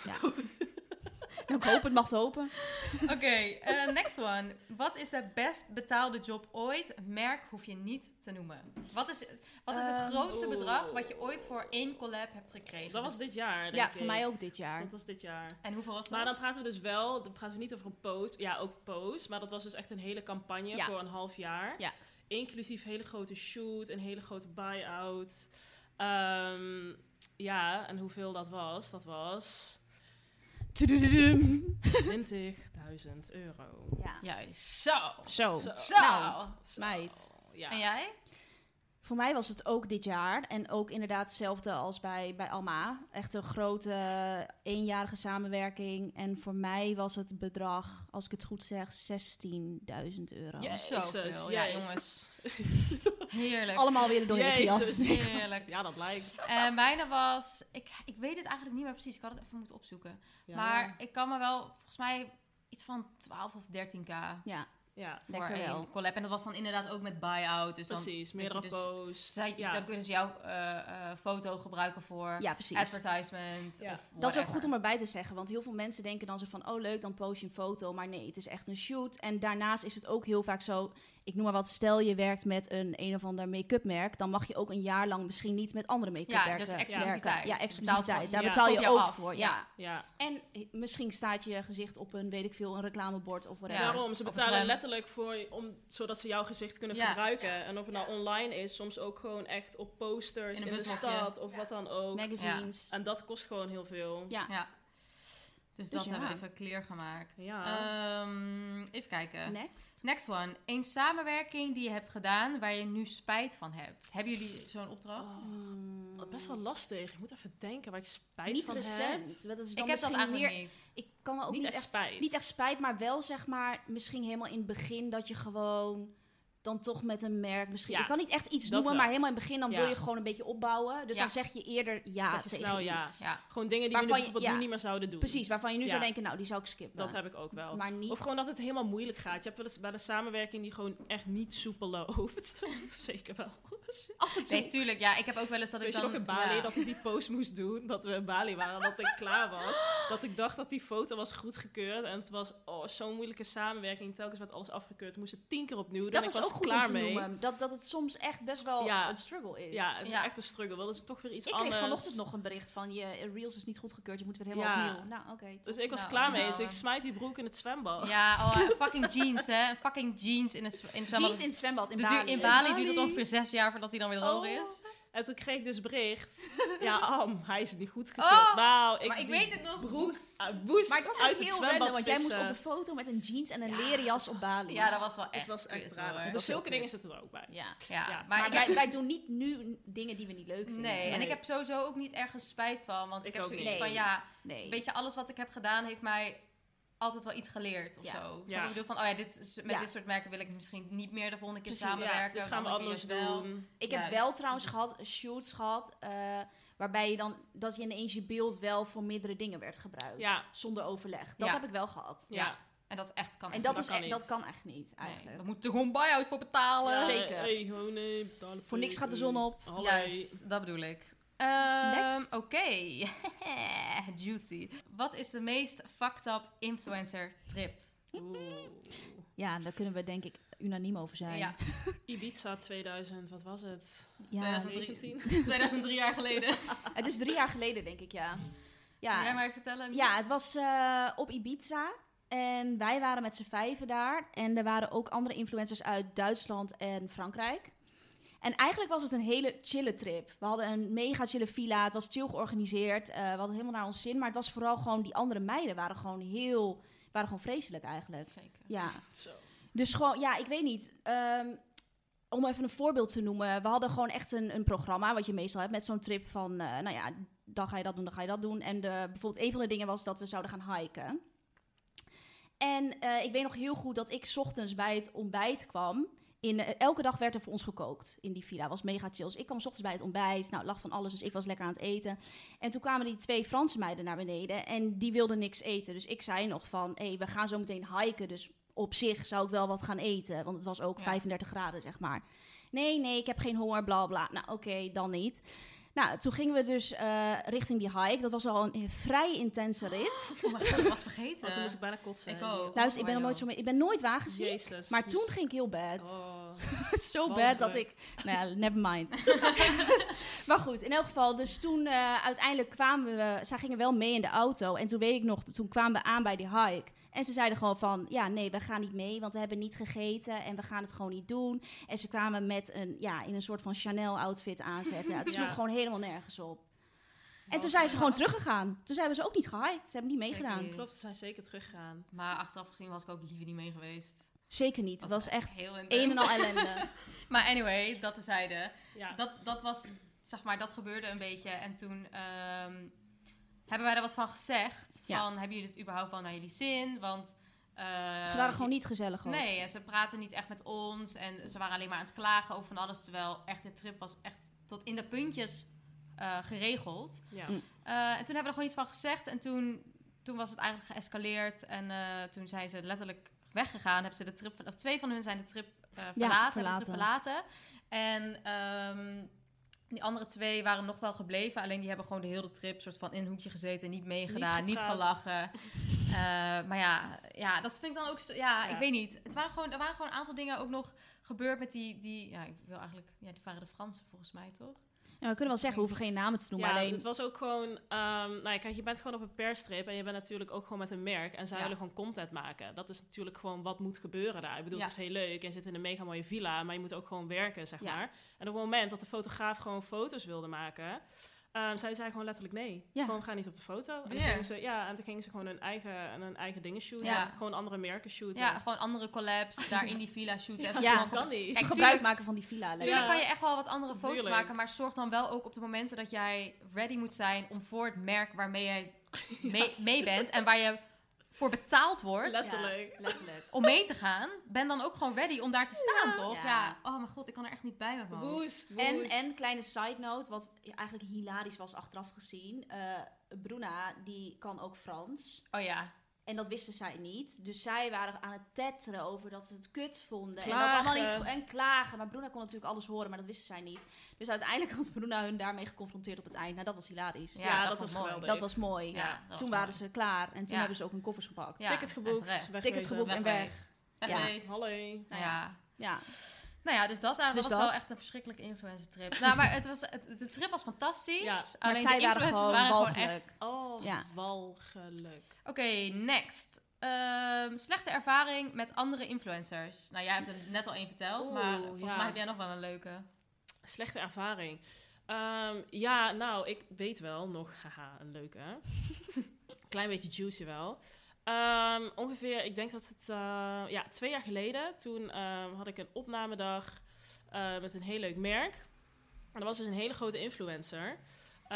E: Nou, ik hoop het, mag het hopen.
B: Oké, eh, next one. Wat is de best betaalde job ooit? Merk hoef je niet te noemen. Wat is, wat is het
E: Ehm,
B: grootste
D: oeh.
B: bedrag wat je ooit voor één collab hebt gekregen?
D: Dat was
B: Dus-
D: dit jaar, denk
E: Ja,
D: ik.
E: voor mij ook dit jaar.
D: Dat was dit jaar.
B: en hoeveel was
D: Maar dan
B: dat?
D: praten we dus wel, dan praten we niet over een post. Ja, ook post. Maar dat was dus echt een hele campagne
E: Ja.
D: voor een half jaar.
E: Ja.
D: Inclusief hele grote shoot, een hele grote buy-out. Ehm, ja, en hoeveel dat was? Dat was 20.000 euro.
E: Ja.
B: Juist. Zo.
E: Zo.
D: Zo.
B: Oh. Zo.
E: Nou,
D: Zo,
E: meid.
D: Ja.
B: En jij?
E: Voor mij was het ook dit jaar. En ook inderdaad hetzelfde als bij, bij Alma. Echt een grote eenjarige samenwerking. En voor mij was het bedrag, als ik het goed zeg, 16.000 euro.
B: Jezus,
D: Jezus,
B: ja,
D: jezus.
B: jongens. Heerlijk.
E: Allemaal weer door de
D: Jezus.
E: jas.
B: Heerlijk.
D: Ja, dat lijkt.
B: En mijne was... Ik, ik weet het eigenlijk niet meer precies. Ik had het even moeten opzoeken.
D: Ja.
B: Maar ik kan me wel... Volgens mij iets van 12 of 13k
E: Ja,
D: Ja,
B: voor
E: Lekker
B: één
E: wel.
B: collab. En dat was dan inderdaad ook met buy-out. Dus dan,
D: precies. Meerdere
B: dus-
D: posts.
B: zij,
D: ja.
B: dan kunnen ze jouw eh, eh, foto gebruiken voor
E: ja precies.
B: advertisement.
D: Ja.
B: Of
E: Dat is ook
B: whatever.
E: goed om erbij te zeggen, want heel veel mensen denken dan zo van, oh leuk, dan post je een foto, maar nee, het is echt een shoot. En daarnaast is het ook heel vaak zo, ik noem maar wat, stel je werkt met een een of ander make-up merk, dan mag je ook een jaar lang misschien niet met andere make-up
B: Ja,
E: merken
B: dus
E: werken.
B: exclusiviteit.
E: Ja,
B: Je betaalt
E: exclusiviteit. Daar
B: gewoon-
E: betaal
B: ja, top
E: je
B: jou
E: ook
B: af.
E: voor, ja.
B: Ja.
D: ja.
E: En eh, misschien staat je gezicht op een, weet ik veel, een reclamebord of whatever.
B: Ja.
D: Daarom, ze
B: Of het
D: betalen
B: raam.
D: letterlijk voor, om, zodat ze jouw gezicht kunnen
B: Ja.
D: gebruiken. En of het nou online is, soms ook gewoon echt op posters
B: In
D: in,
B: een
D: de
B: busmokje.
D: stad of wat dan ook.
E: Magazines.
D: En dat kost gewoon heel veel.
E: Ja.
B: Ja. Dus, dat
E: ja.
B: hebben we even clear gemaakt.
D: Ja.
B: Ehm, even kijken.
E: Next.
B: Next one. Een samenwerking die je hebt gedaan waar je nu spijt van hebt. Hebben jullie zo'n opdracht?
E: Mm,
D: Oh. Wat Best wel lastig. Ik moet even denken waar ik spijt
E: niet
D: van heb.
E: recent. want Dat is dan
B: ik heb dat
E: misschien
B: eigenlijk
E: meer,
B: niet.
E: Ik kan me ook
D: Niet,
E: niet,
D: echt spijt.
E: Niet echt spijt, maar wel zeg maar misschien helemaal in het begin dat je gewoon dan toch met een merk misschien.
D: Ja,
E: ik kan niet echt iets
D: dat
E: noemen,
D: wel.
E: maar helemaal in het begin dan
D: Ja.
E: wil je gewoon een beetje opbouwen. Dus
B: Ja.
E: dan zeg je eerder ja
D: Zeg je
E: tegen
D: snel ja.
E: iets.
B: Ja.
D: Gewoon dingen die we
E: Waarvan
D: nu
E: je-
D: bijvoorbeeld
E: ja.
D: nu niet meer zouden doen.
E: Precies, waarvan je nu
D: Ja.
E: zou denken, nou die zou ik skippen.
D: Dat heb ik ook wel.
E: Maar niet.
D: Of gewoon dat het helemaal moeilijk gaat. Je hebt wel eens bij een samenwerking die gewoon echt niet soepel loopt. Zeker wel.
E: af en toe.
B: Nee, tuurlijk. Ja, ik heb ook wel eens dat
D: Weet
B: ik dan...
D: je nog in Bali
B: ja.
D: dat ik die post moest doen? Dat we in Bali waren, dat ik klaar was. Dat ik dacht dat die foto was goedgekeurd. En het was oh, zo'n moeilijke samenwerking. Telkens werd alles afgekeurd. We moesten tien keer opnieuw doen.
E: dat
D: ik
E: was
D: was
E: ook goed om
D: klaar
E: te
D: mee.
E: noemen. Dat, dat het soms echt best wel
D: Ja.
E: een struggle is.
D: Ja, het is
B: Ja.
D: echt een struggle. Wilden ze toch weer iets
E: ik kreeg
D: anders.
E: vanochtend nog een bericht van je reels is niet goedgekeurd, je moet weer helemaal
D: Ja.
E: opnieuw. Nou, oké.
D: Dus ik was
B: Nou,
D: klaar mee.
B: nou,
D: Dus ik
B: eh.
D: smijt die broek in het zwembad.
B: Ja, oh, eh, fucking jeans, hè. Een Fucking jeans in het, in het zwembad.
E: Jeans in het zwembad in
B: Dat duurt-
E: Bali.
B: in Bali
D: Bali.
B: duurt het ongeveer zes jaar voordat hij dan weer
D: Oh.
B: hoger is.
D: En toen kreeg ik dus bericht. Ja, Am, hij is niet goedgekeurd.
B: Oh,
D: nou, ik,
B: maar ik
D: die
B: weet het nog. Broes.
D: eh, woest
E: Maar het was
D: uit
E: ook
D: het
E: heel
D: zwembad
E: random, want jij moest
D: vissen.
E: op de foto met een jeans en een leren jas op Bali.
B: Ja, dat was wel echt
D: Het was echt
B: kut,
D: raar.
E: eh,
B: hoor.
D: Dus zulke dingen zitten er ook bij.
E: Ja.
B: Ja,
D: Ja,
B: maar,
E: Maar,
B: ik
E: wij, wij doen niet nu dingen die we niet leuk vinden.
B: Nee, en
D: Nee.
B: ik heb sowieso ook niet ergens spijt van. Want ik,
D: Ik
B: heb
D: ook
B: zoiets
E: niet.
B: van,
E: Nee.
B: ja,
E: nee.
B: weet je, alles wat ik heb gedaan heeft mij altijd wel iets geleerd of
E: Ja.
B: zo. Snap je
D: Ja.
B: wat Ik bedoel van, oh ja, dit, is- met
E: Ja.
B: dit soort merken wil ik misschien niet meer de volgende keer
E: Precies.
D: Ja,
B: samenwerken.
D: dit gaan we
B: de andere
D: anders
B: keer wel.
D: doen.
E: ik heb
B: Juist.
E: wel trouwens gehad, shoots gehad, eh, waarbij je dan, dat je ineens je beeld wel voor meerdere dingen werd gebruikt.
D: Ja,
E: Zonder overleg. Dat
B: Ja.
E: heb ik wel gehad.
D: ja.
B: En dat is echt kan.
E: En
B: echt
E: dat,
D: dat
E: is
D: kan
E: e-
D: niet.
E: dat kan echt niet,
B: niet.
E: eigenlijk.
B: Nee, daar moet je gewoon buy-out voor betalen.
E: Ja.
B: Zeker.
E: Zeker.
D: Hey, gewoon, nee, betalen
E: Voor niks gaat de zon op.
D: Hallo.
B: Juist, dat bedoel ik. Ehm,
E: Next.
B: Oké, juicy. Wat is de meest fucked up influencer trip?
D: Oeh.
E: Ja, daar kunnen we denk ik unaniem over zijn.
B: Ja,
D: Ibiza 2000, wat was het?
E: Ja,
D: 19?
B: 2003 jaar geleden.
E: het is drie jaar geleden, denk ik, ja.
B: Kun
E: Ja,
B: jij mij vertellen? Mies?
E: Ja, het was eh, op Ibiza. En wij waren met z'n vijven daar. En er waren ook andere influencers uit Duitsland en Frankrijk. En eigenlijk was het een hele chille trip. We hadden een mega chille villa. Het was chill georganiseerd. eh, we hadden helemaal naar ons zin. Maar het was vooral gewoon... Die andere meiden waren gewoon heel... Waren gewoon vreselijk eigenlijk.
B: Zeker.
E: Ja.
D: Zo.
E: Dus gewoon, ja, ik weet niet. Ehm, om even een voorbeeld te noemen. We hadden gewoon echt een, een programma, wat je meestal hebt met zo'n trip van, eh, nou ja, dan ga je dat doen, dan ga je dat doen. En de, bijvoorbeeld een van de dingen was dat we zouden gaan hiken. En eh, ik weet nog heel goed dat ik 's ochtends bij het ontbijt kwam In, eh, elke dag werd er voor ons gekookt in die villa. was mega chill. Dus ik kwam 's ochtends bij het ontbijt. Nou, lag van alles. Dus ik was lekker aan het eten. En toen kwamen die twee Franse meiden naar beneden. En die wilden niks eten. Dus ik zei nog van... Hé, we gaan zo meteen hiken. Dus op zich zou ik wel wat gaan eten. Want het was ook
B: Ja.
E: 35 graden, zeg maar. Nee, nee, ik heb geen honger, bla bla. Nou, oké, dan niet. Nou, toen gingen we dus eh, richting die hike. Dat was al een vrij intense rit.
B: Oh mijn god, ik was vergeten.
D: Want toen moest ik bijna kotsen.
B: Ik ook.
E: Luister, ik ben
B: Oh,
E: nog nooit zo...
B: joh.
E: mee- Ik ben nooit wagenziek.
D: Jezus.
E: Maar toen ging ik heel bad.
D: Oh.
E: zo
D: Wat
E: bad dat
D: goed.
E: ik... Nou, ja, never mind. maar goed, in elk geval. Dus toen eh, uiteindelijk kwamen we... Zij gingen wel mee in de auto. En toen weet ik nog, toen kwamen we aan bij die hike. En ze zeiden gewoon van, ja, nee, we gaan niet mee. Want we hebben niet gegeten en we gaan het gewoon niet doen. En ze kwamen met een, ja, in een soort van Chanel-outfit aanzetten. Ja, het sloeg
D: Ja.
E: gewoon helemaal nergens op. En
B: Wat
E: toen zijn ze
B: erg.
E: gewoon teruggegaan. Toen hebben ze ook niet gehiked. Ze hebben niet
B: Zeker
E: meegedaan.
B: niet.
D: Klopt, ze zijn zeker teruggegaan.
B: Maar achteraf gezien was ik ook liever niet mee geweest.
E: Zeker niet. Het was echt
B: heel intens.
E: een en al ellende.
B: Maar anyway, dat tezijde.
D: Ja.
B: Dat, dat was, zeg maar, dat gebeurde een beetje. En toen ehm, hebben wij er wat van gezegd.
E: Ja.
B: Van, hebben jullie het überhaupt wel naar jullie zin? Want... eh,
E: Ze waren gewoon niet gezellig. ook.
B: Nee, en ze praten niet echt met ons. En ze waren alleen maar aan het klagen over van alles. Terwijl echt de trip was echt tot in de puntjes eh, geregeld.
D: Ja.
E: Mm.
B: Eh, en toen hebben we er gewoon iets van gezegd. En toen, toen was het eigenlijk geëscaleerd. En eh, toen zijn ze letterlijk weggegaan. Hebben ze de trip, of twee van hun zijn de trip eh, verlaten. Hebben de trip verlaten. En ehm, die andere twee waren nog wel gebleven. Alleen die hebben gewoon de hele trip soort van in een hoekje gezeten. Niet meegedaan, niet,
D: gepraat.
B: gelachen. Eh, maar ja, ja, dat vind ik dan ook zo... Ja,
D: Ja.
B: ik weet niet. Het waren gewoon, er waren gewoon een aantal dingen ook nog gebeurd met die... die ja, ik wil eigenlijk... Ja, die waren de Fransen volgens mij, toch?
E: Ja, we kunnen wel zeggen, we hoeven geen namen te noemen.
D: Ja,
E: alleen,
D: het was ook gewoon... ehm, nou ja, kijk, je bent gewoon op een perstrip en je bent natuurlijk ook gewoon met een merk. En zij
B: Ja.
D: willen gewoon content maken. Dat is natuurlijk gewoon wat moet gebeuren daar. Ik bedoel,
B: Ja.
D: het is heel leuk en je zit in een mega mooie villa, maar je moet ook gewoon werken, zeg
B: Ja.
D: maar. En op het moment dat de fotograaf gewoon foto's wilde maken... ehm zij zei gewoon letterlijk nee.
E: Ja.
D: Gewoon ga niet op de foto. En,
B: Ja.
D: toen gingen ze, ja, en toen gingen ze gewoon hun eigen, hun eigen dingen shooten.
B: Ja.
D: Gewoon andere merken shooten.
B: Ja, gewoon andere collabs. Daar in die villa shooten. Even
E: Ja.
B: gewoon
D: dat kan niet.
B: Kijk,
E: gebruik
B: tuurlijk-
E: maken van die villa. leuk.
B: Tuurlijk
D: Ja.
B: kan je echt wel wat andere foto's
D: Tuurlijk.
B: maken, maar zorg dan wel ook op de momenten dat jij ready moet zijn om voor het merk waarmee jij mee, mee bent en waar je voor betaald wordt
D: Letterlijk.
B: letterlijk, om mee te gaan, ben dan ook gewoon ready om daar te staan, toch?
E: Ja.
B: Ja. Oh mijn god, ik kan er echt niet bij me van.
D: Woest,
E: En,
D: woest.
E: en kleine side note, wat eigenlijk hilarisch was achteraf gezien. eh, Bruna, die kan ook Frans.
B: Oh ja.
E: En dat wisten zij niet. Dus zij waren aan het tetteren over dat ze het kut vonden. En,
D: Klagen.
E: dat allemaal niet go- en klagen. Maar Bruna kon natuurlijk alles horen, maar dat wisten zij niet. Dus uiteindelijk had Bruna hun daarmee geconfronteerd op het eind. Nou, dat was hilarisch.
B: Ja,
D: Ja,
B: dat, was
D: dat was
B: mooi.
D: geweldig.
E: Dat was mooi.
B: Ja, dat was
E: toen
B: mooi.
E: waren ze klaar en toen
B: Ja.
E: hebben ze ook hun koffers gepakt.
B: Ja,
D: ticket geboekt.
B: en terecht.
D: wegwezen.
E: Ticket geboekt. en
B: Wegwezen.
E: Ja.
B: Wegwezen.
D: Hallo.
B: Nou ja.
E: Ja.
B: Nou ja, dus dat, dat
E: Dus
B: was
E: dat.
B: wel echt een verschrikkelijke influencer trip. nou, maar het was, het, de trip was fantastisch.
D: Ja,
E: Maar
B: Alleen
E: zij
B: de
E: waren
B: influencers
E: gewoon
B: waren gewoon
E: walgelijk.
B: echt
D: Oh,
E: Ja.
D: walgelijk.
B: Oké, next. Ehm, slechte ervaring met andere influencers. Nou, jij hebt er net al één verteld,
D: Oeh,
B: maar volgens
D: ja.
B: mij heb jij nog wel een leuke.
D: Slechte ervaring. Ehm, ja, nou, ik weet wel nog, haha, een leuke. Klein beetje juicy wel. Ehm, ongeveer, ik denk dat het, eh, ja, twee jaar geleden, toen ehm, had ik een opnamedag eh, met een heel leuk merk. En er was dus een hele grote influencer.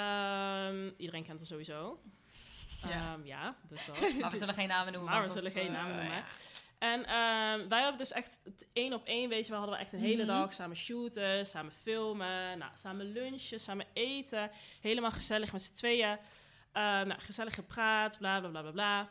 D: Ehm, iedereen kent haar sowieso.
B: Ja.
D: Ehm, ja, dus dat.
B: Maar we zullen geen namen noemen.
D: Maar
B: want
D: we
B: dat
D: zullen
B: is,
D: geen
B: eh,
D: namen noemen.
B: ja.
D: En ehm, wij hebben dus echt het één op één, weet je wel, hadden we echt een hele dag samen shooten, samen filmen, nou, samen lunchen, samen eten. Helemaal gezellig met z'n tweeën. Ehm, nou, gezellig gepraat, bla bla bla bla bla.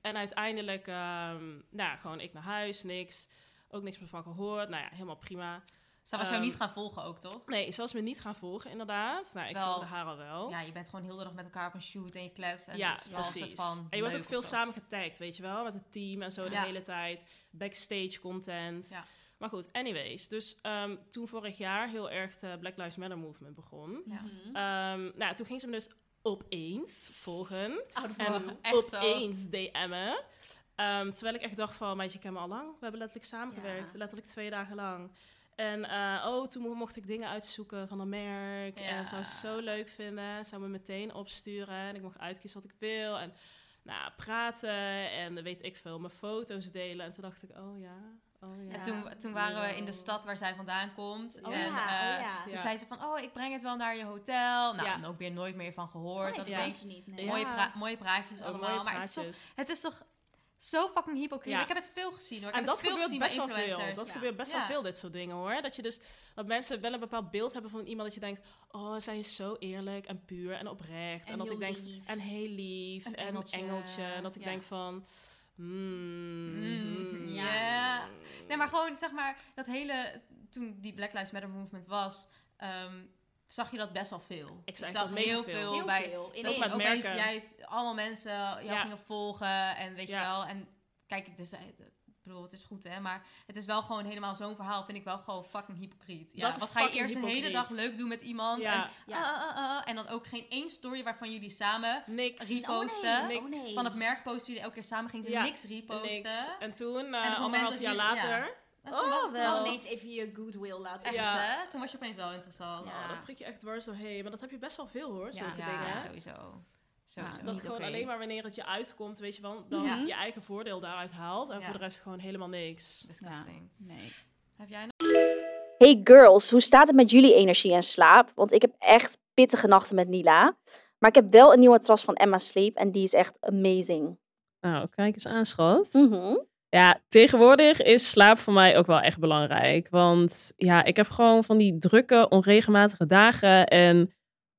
D: En uiteindelijk, ehm, nou, gewoon ik naar huis, niks. Ook niks meer van gehoord. Nou ja, helemaal prima.
B: Zij was jou
D: Ehm,
B: niet gaan volgen ook, toch?
D: Nee, ze was me niet gaan volgen, inderdaad. Nou, ik
B: Terwijl-
D: volgde haar al wel.
B: Ja, je bent gewoon heel de dag met elkaar op een shoot en je klets. En
D: ja,
B: het is wel een soort
D: precies.
B: van
D: en je wordt
B: leuk
D: ook veel
B: of zo.
D: samen getagd, weet je wel, met het team en zo de
B: Ja.
D: hele tijd. Backstage content.
B: Ja.
D: Maar goed, anyways. Dus ehm, toen vorig jaar heel erg de Black Lives Matter movement begon.
B: Ja.
E: Mhm.
D: Ehm, nou, toen ging ze me dus opeens volgen.
B: Out of
D: En
B: echt zo.
D: opeens DM'en. Ehm, terwijl ik echt dacht van, meisje, ik ken me al lang. We hebben letterlijk samengewerkt.
E: Ja.
D: Letterlijk twee dagen lang. En eh, oh, toen mo- mocht ik dingen uitzoeken van een merk. En
B: Ja.
D: dat zou ze zo leuk vinden. Zou me meteen opsturen. En ik mocht uitkiezen wat ik wil. En nou, praten. En weet ik veel, mijn foto's delen. En toen dacht ik, oh ja, oh ja.
B: En toen, toen waren we in de
D: Wow.
B: stad waar zij vandaan komt.
D: Oh
B: en,
E: ja, oh
B: eh,
E: ja.
B: Toen
D: Ja.
B: zei ze van, oh, ik breng het wel naar je hotel. Nou,
D: Ja.
B: en ook weer nooit meer van
E: Oh,
B: gehoord. dat
E: nee, dat
B: ik
D: ja.
B: denk,
E: kan ze niet. Nee.
D: Ja.
B: mooie, pra- mooie praatjes
D: Oh,
B: allemaal.
D: mooie
B: maar het is toch
D: praatjes.
B: Het is toch Zo fucking hypocriet.
D: Ja.
B: Ik heb het veel gezien hoor. Ik
D: En
B: heb
D: dat
B: het veel gezien
D: gebeurt best
B: bij
D: wel veel.
B: influencers.
D: Dat
B: Ja.
D: gebeurt best wel
B: Ja.
D: veel, dit soort dingen hoor. Dat je dus dat mensen wel een bepaald beeld hebben van iemand dat je denkt. Oh, zij is zo eerlijk en puur en oprecht. En,
E: En
D: dat
E: heel
D: ik denk.
E: lief.
D: En heel lief.
B: Een
D: en
B: engeltje.
D: engeltje. En dat ik
B: Ja.
D: denk van. mm,
B: Mm,
D: mm,
B: ja.
D: mm.
B: Nee, maar gewoon zeg maar dat hele. Toen die Black Lives Matter movement was, ehm, zag je dat best wel veel.
D: Ik zag
B: zag
D: dat mega
B: heel
D: veel.
B: veel
D: Heel
B: bij.
E: veel.
B: Dat
D: met
B: opeens
D: merken.
B: jij allemaal mensen jou
D: Ja.
B: gingen volgen en weet je
D: Ja.
B: wel. En kijk, ik dus, eh, ik bedoel, het is goed hè, maar het is wel gewoon helemaal zo'n verhaal. Vind ik wel gewoon fucking hypocriet. Ja,
D: Dat is
B: wat ga je
D: fucking
B: eerst de hele
D: hypocriet.
B: dag leuk doen met iemand? En,
D: Ja,
E: Ja.
B: ah, ah, ah, ah, en dan ook geen één story waarvan jullie samen
D: niks.
B: Repost. posten.
D: Niks.
E: Oh, nee. Oh,
B: van het merk posten jullie elke keer samen gingen ze
D: Ja,
B: niks reposten.
D: Niks. En toen,
B: het
D: eh
B: moment
D: anderhalf
B: dat
D: jaar
B: jullie- ja.
D: later.
B: En toen was- toen
E: Dan
B: was-
E: ineens even je goodwill laten
B: Echt,
E: zien.
D: Ja.
B: hè? Toen was je opeens wel interessant.
E: Ja.
D: Oh, dat prik je echt dwars doorheen. Maar dat heb je best wel veel hoor, zulke
B: Ja,
D: dingen. Nou,
B: sowieso. sowieso.
E: Ja,
D: Dat
B: Niet
D: gewoon
B: oké.
D: alleen maar wanneer het je uitkomt, weet je wel, dan
F: Ja.
D: je eigen voordeel daaruit haalt. En
B: Ja.
D: voor de rest gewoon helemaal niks.
B: Disgusting.
E: Nee.
B: Heb jij nog?
G: Hey girls, hoe staat het met jullie energie en slaap? Want ik heb echt pittige nachten met Nila. Maar ik heb wel een nieuwe tras van Emma Sleep en die is echt amazing.
H: Nou, kijk eens aan, schat.
G: Mhm.
H: Ja, tegenwoordig is slaap voor mij ook wel echt belangrijk. Want ja, ik heb gewoon van die drukke, onregelmatige dagen. En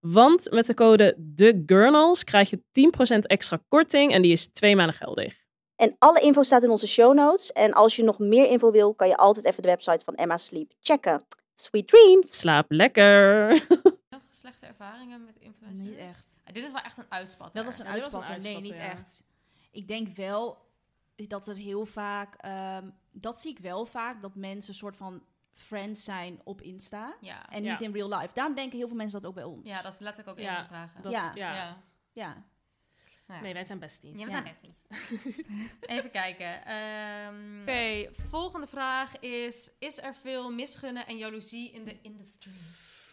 H: Want met de code TheGurnals krijg je 10% extra korting en die is twee maanden geldig.
G: En alle info staat in onze show notes. En als je nog meer info wil, kan je altijd even de website van Emma Sleep checken. Sweet dreams!
H: Slaap lekker.
B: nog slechte ervaringen met influencers?
E: Niet echt.
B: Ah, dit is wel echt een uitspat.
E: Dat was een
D: Ja, dit was een
E: uitspatter. Nee, niet
D: uitspatter, ja.
E: echt. Ik denk wel dat er heel vaak... ehm, dat zie ik wel vaak, dat mensen soort van friends zijn op Insta.
B: Ja.
E: En
H: Ja.
E: niet in real life. Daarom denken heel veel mensen dat ook bij ons.
B: ja, dat is letterlijk ook
D: Ja,
B: één van de vragen.
D: Dat
E: Ja.
D: Is, ja.
B: ja.
E: Ja.
B: Nou ja.
D: Nee, wij zijn
B: Ja,
D: besties.
E: Ja.
B: we zijn besties. Even kijken. ehm, Oké, volgende vraag is... Is er veel misgunnen en jaloezie in de industry?